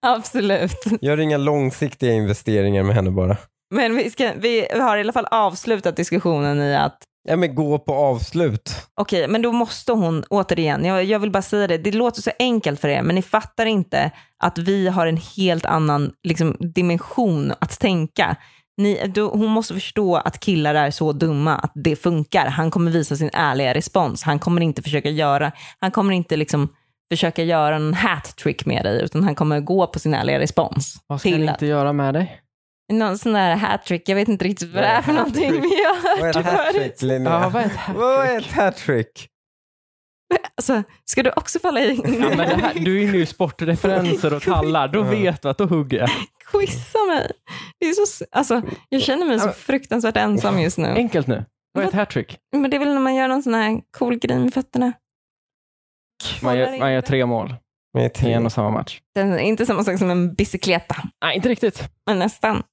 S1: Absolut.
S3: Gör inga långsiktiga investeringar med henne bara.
S1: Men vi, ska, vi har i alla fall avslutat diskussionen i att
S3: Ja men gå på avslut.
S1: Okej, men då måste hon, återigen, jag, jag vill bara säga det, det låter så enkelt för er, men ni fattar inte att vi har en helt annan liksom, dimension att tänka. Ni, då, hon måste förstå att killar är så dumma att det funkar. Han kommer visa sin ärliga respons. Han kommer inte försöka göra, han kommer inte liksom försöka göra en hat-trick med dig, utan han kommer gå på sin ärliga respons.
S2: Vad ska han
S1: Till-
S2: inte göra med dig?
S1: Någon sån där hat-trick, jag vet inte riktigt vad det
S3: Vad är
S1: är för någonting,
S3: hat-trick?
S1: men jag har
S3: Vad är
S1: hört det förut.
S3: ett hattrick typ, Linnea?
S2: Ja, vad är det här? typ?
S3: Vad är ett hattrick?
S1: Alltså, ska du också falla i
S2: Ja, men det här, du är inne i sportreferenser och tallar. Då vet du att då hugger jag.
S1: quizza mig. Det är så, alltså, jag känner mig så fruktansvärt ensam just nu.
S2: Enkelt nu. Vad är ett hattrick?
S1: Men det är väl när man gör någon sån här cool grej med fötterna.
S2: Man
S1: Kollar
S2: gör,
S1: in.
S2: man gör tre mål
S3: Med
S2: i en
S3: tre.
S2: och samma match.
S1: Det är inte samma sak som en bicicleta,
S2: Nej, inte riktigt.
S1: men nästan.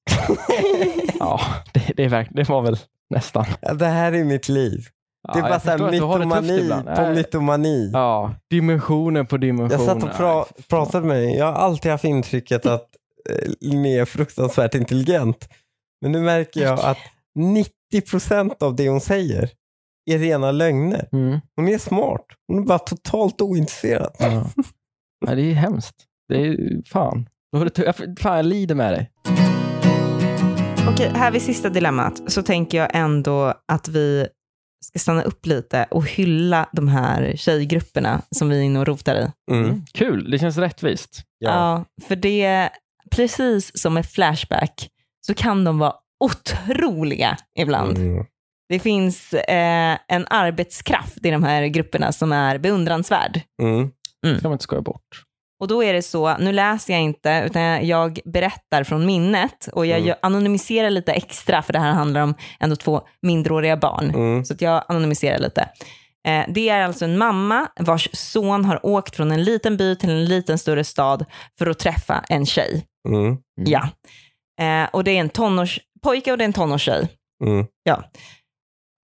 S2: Ja, det, det, är verk, det var väl nästan.
S3: Ja, Det här är mitt liv.
S2: Ja,
S3: det är bara
S2: jag
S3: så här
S2: förstår att du har det tufft
S3: mytomani
S2: ibland.
S3: på
S2: Nej.
S3: mytomani.
S2: Ja, dimensioner på dimensioner.
S3: Jag satt och pra pratade med dig. Jag har alltid haft intrycket att eh, Linnea är fruktansvärt intelligent. Men nu märker jag att 90% av det hon säger är rena lögner.
S2: Mm.
S3: Hon är smart. Hon är bara totalt ointresserad.
S2: Ja. Nej, det är hemskt. Det är fan. Då är det tu- jag- Fan, jag lider med dig.
S1: Okej, här vid sista dilemmat så tänker jag ändå att vi ska stanna upp lite och hylla de här tjejgrupperna som vi är inne och rotar i.
S3: Mm.
S2: Kul, det känns rättvist.
S3: Ja.
S1: för det, precis som med Flashback, så kan de vara otroliga ibland.
S3: Mm.
S1: Det finns eh, en arbetskraft i de här grupperna som är beundransvärd.
S3: Mm.
S2: Det kan man inte skoja bort.
S1: Och då är det så, nu läser jag inte, utan jag- jag berättar från minnet och jag
S3: Mm.
S1: gör- anonymiserar lite extra, för det här handlar om ändå två mindreåriga barn.
S3: Mm.
S1: Så att jag anonymiserar lite. Eh, Det är alltså en mamma vars son har åkt från en liten by till en liten större stad för att träffa en tjej.
S3: Mm.
S2: Mm.
S1: Ja. Eh, Och det är en tonårspojke och det är en tonårstjej.
S3: Mm.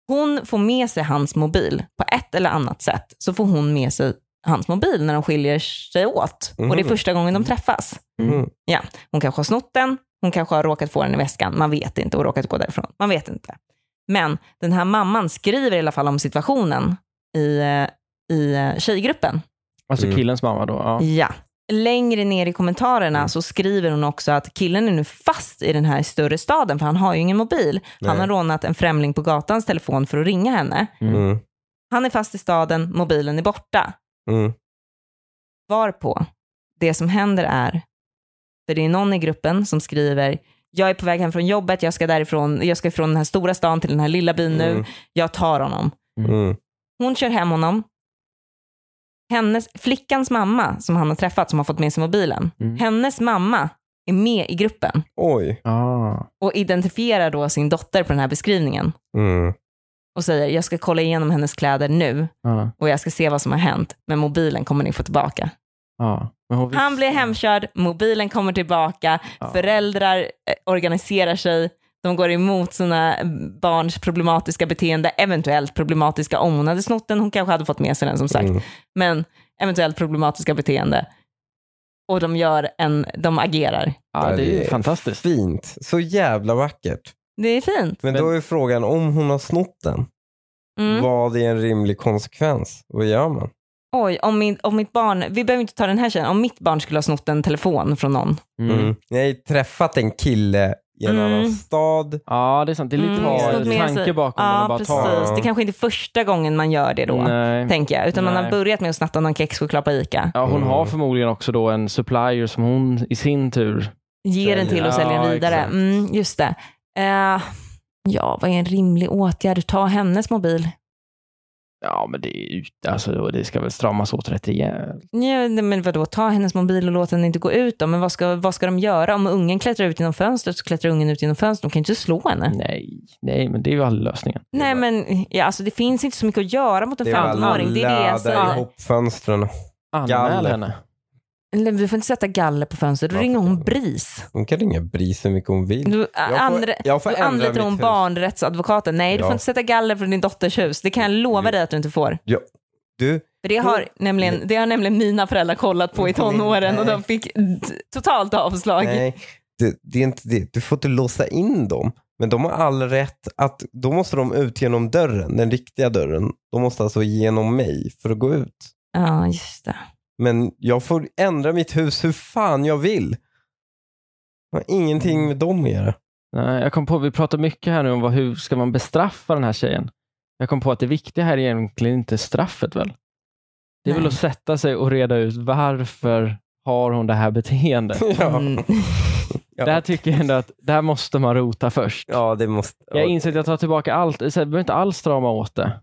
S1: Hon får med sig hans mobil på ett eller annat sätt. Så får hon med sig hans mobil när de skiljer sig åt. Och det är
S3: Mhm.
S1: första gången de träffas.
S3: Mm.
S1: Hon kanske har snott den, hon kanske har råkat få den i väskan, man vet inte, och råkat gå därifrån. Man vet inte. Men den här mamman skriver i alla fall om situationen i, eh, i eh, tjejgruppen.
S2: Alltså
S3: Mm.
S2: killens mamma då. Ja.
S1: Ja. Längre ner i kommentarerna
S3: Mm.
S1: så skriver hon också att killen är nu fast i den här större staden, för han har ju ingen mobil. Han
S3: Nej.
S1: har rånat en främling på gatans telefon för att ringa henne.
S3: Mm.
S1: Han är fast i staden, mobilen är borta.
S3: Mm.
S1: Varpå det som händer är, för det är någon i gruppen som skriver, jag är på väg hem från jobbet, jag ska därifrån, jag ska från den här stora stan till den här lilla byn nu,
S3: Mm.
S1: jag tar honom.
S3: Mm.
S1: Hon kör hem honom. Hennes, flickans mamma som han har träffat, som har fått med sig mobilen,
S2: Mm.
S1: hennes mamma är med i gruppen
S3: Oj.
S2: Ah.
S1: och identifierar då sin dotter på den här beskrivningen
S3: Mm.
S1: och säger, jag ska kolla igenom hennes kläder nu
S2: Ja.
S1: och jag ska se vad som har hänt, men mobilen kommer ni få tillbaka.
S2: Ja. Men hon visste-
S1: Han blir hemkörd, mobilen kommer tillbaka,
S2: Ja.
S1: föräldrar eh, organiserar sig, De går emot sina mm, barns problematiska beteende, eventuellt problematiska om hon hade snott den. Hon kanske hade fått med sig den som sagt.
S3: Mm.
S1: Men eventuellt problematiska beteende. Och de gör en, de agerar.
S2: Ja, det
S3: det
S2: är
S3: är
S2: fantastiskt.
S3: Fint. Så jävla vackert.
S1: Det är fint.
S3: Men,
S2: Men-
S3: då är frågan om hon har snott den.
S1: Mm.
S3: Vad är en rimlig konsekvens? Vad gör man?
S1: Oj, om, min, om mitt barn, vi behöver inte ta den här tjejen, om mitt barn skulle ha snott en telefon från någon.
S2: Mm.
S3: Mm. Ni har ju träffat en kille i en
S1: Mm.
S3: annan stad.
S2: Ja, det är sant. Det är lite
S1: Mm,
S3: snott
S2: mer
S1: med
S2: tanke
S1: sig-
S2: bakom den
S1: Ja,
S2: och bara
S1: precis.
S2: ta
S3: den.
S1: Det kanske inte är första gången man gör det då,
S2: Nej.
S1: tänker jag. Utan man
S2: Nej.
S1: har börjat med att snatta någon kexchoklad på ICA.
S2: eh, Ja, hon
S3: Mm.
S2: har förmodligen också då en supplier som hon i sin tur...
S1: Ger den till och
S2: Ja,
S1: säljer den vidare.
S2: exakt.
S1: Mm, just det. Eh, ja, vad är en rimlig åtgärd? Ta hennes mobil.
S2: Ja, men det är ut, alltså, det ska väl stramas åt rätt rejält.
S1: Ja, nej, men vadå, ta hennes mobil och låt henne inte gå ut då. Men vad ska, vad ska de göra? Om ungen klättrar ut genom fönstret så klättrar ungen ut genom fönstret. De kan ju inte slå henne.
S2: Nej, nej, men det är ju aldrig lösningen.
S1: Nej men ja, alltså, det finns inte så mycket att göra mot en
S3: Det är väl
S1: 15-åring. Det är det
S3: alla
S1: jag
S3: där
S1: säger.
S3: ihop fönstren.
S2: Anmäl
S3: Galler.
S2: henne.
S1: Nej, Du får inte sätta galler på fönstret. Då
S3: Varför
S1: ringer hon
S3: inte?
S1: BRIS.
S3: Hon kan ringa BRIS hur mycket hon vill.
S1: Du, Mm. andra,
S3: jag får
S1: då
S3: ändra
S1: anlitar
S3: mitt
S1: hon
S3: hus.
S1: barnrättsadvokaten. Nej, du
S3: Ja.
S1: får inte sätta galler från din dotters hus. Det kan jag lova
S3: Mm.
S1: dig att du inte får.
S3: Du,
S1: För det har, nämligen, det har nämligen mina föräldrar kollat på i tonåren och de fick d- totalt avslag.
S3: nej. Du, det är inte det. Du får inte låsa in dem. Men de har all rätt att, då måste de ut genom dörren, den riktiga dörren. De måste alltså genom mig för att gå ut.
S1: Ja, just det.
S3: Men jag får ändra mitt hus hur fan jag vill. Jag har
S1: Mm.
S3: ingenting med dem att göra.
S2: Nej, jag kom på, vi pratar mycket här nu om vad, hur ska man bestraffa den här tjejen. Jag kom på att det viktiga här är egentligen inte straffet väl? Det är väl
S1: Nej.
S2: att sätta sig och reda ut varför har hon det här beteendet?
S3: Ja,
S1: Mm.
S3: ja.
S2: Där tycker jag ändå att där måste man rota först.
S3: ja det måste...
S2: Jag inser att jag tar tillbaka allt. Så jag behöver inte alls strama åt det.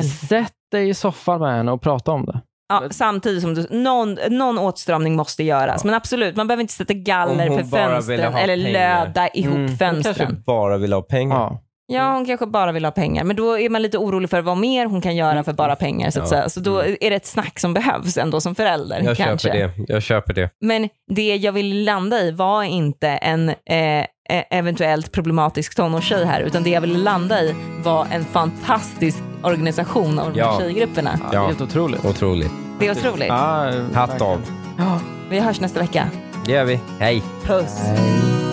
S3: Mm.
S2: Sätt dig i soffan med henne och prata om det.
S1: Ja, samtidigt som du, någon, någon åtstramning måste göras.
S3: Ja.
S1: Men absolut, man behöver inte sätta galler
S3: Om hon
S1: för
S3: bara ville
S1: fönstren
S3: ha
S1: eller
S3: pengar.
S1: löda ihop
S2: Mm. Hon
S3: kanske
S1: fönstren. Mm.
S3: bara vill ha pengar.
S2: Ja.
S1: Ja, hon kanske bara vill ha pengar. Men då är man lite orolig för vad mer hon kan göra för bara pengar. Så, att
S3: Mm. Ja. Mm.
S1: säga. så då är det ett snack som behövs ändå som förälder.
S3: jag
S1: kanske.
S3: köper det. Jag köper det.
S1: Men det jag vill landa i var inte en eh, eh, eventuellt problematisk tonårstjej här, utan det jag ville landa i var en fantastisk organisation av de här
S3: Ja.
S1: tjejgrupperna.
S2: Ja,
S3: Ja.
S2: Helt otroligt.
S3: Otroligt.
S1: Det är otroligt.
S2: Ja,
S3: Hatt
S2: verkligen.
S3: av.
S2: Ja.
S1: Vi hörs nästa vecka.
S3: Det gör vi. Hej.
S1: Puss!
S2: Nej.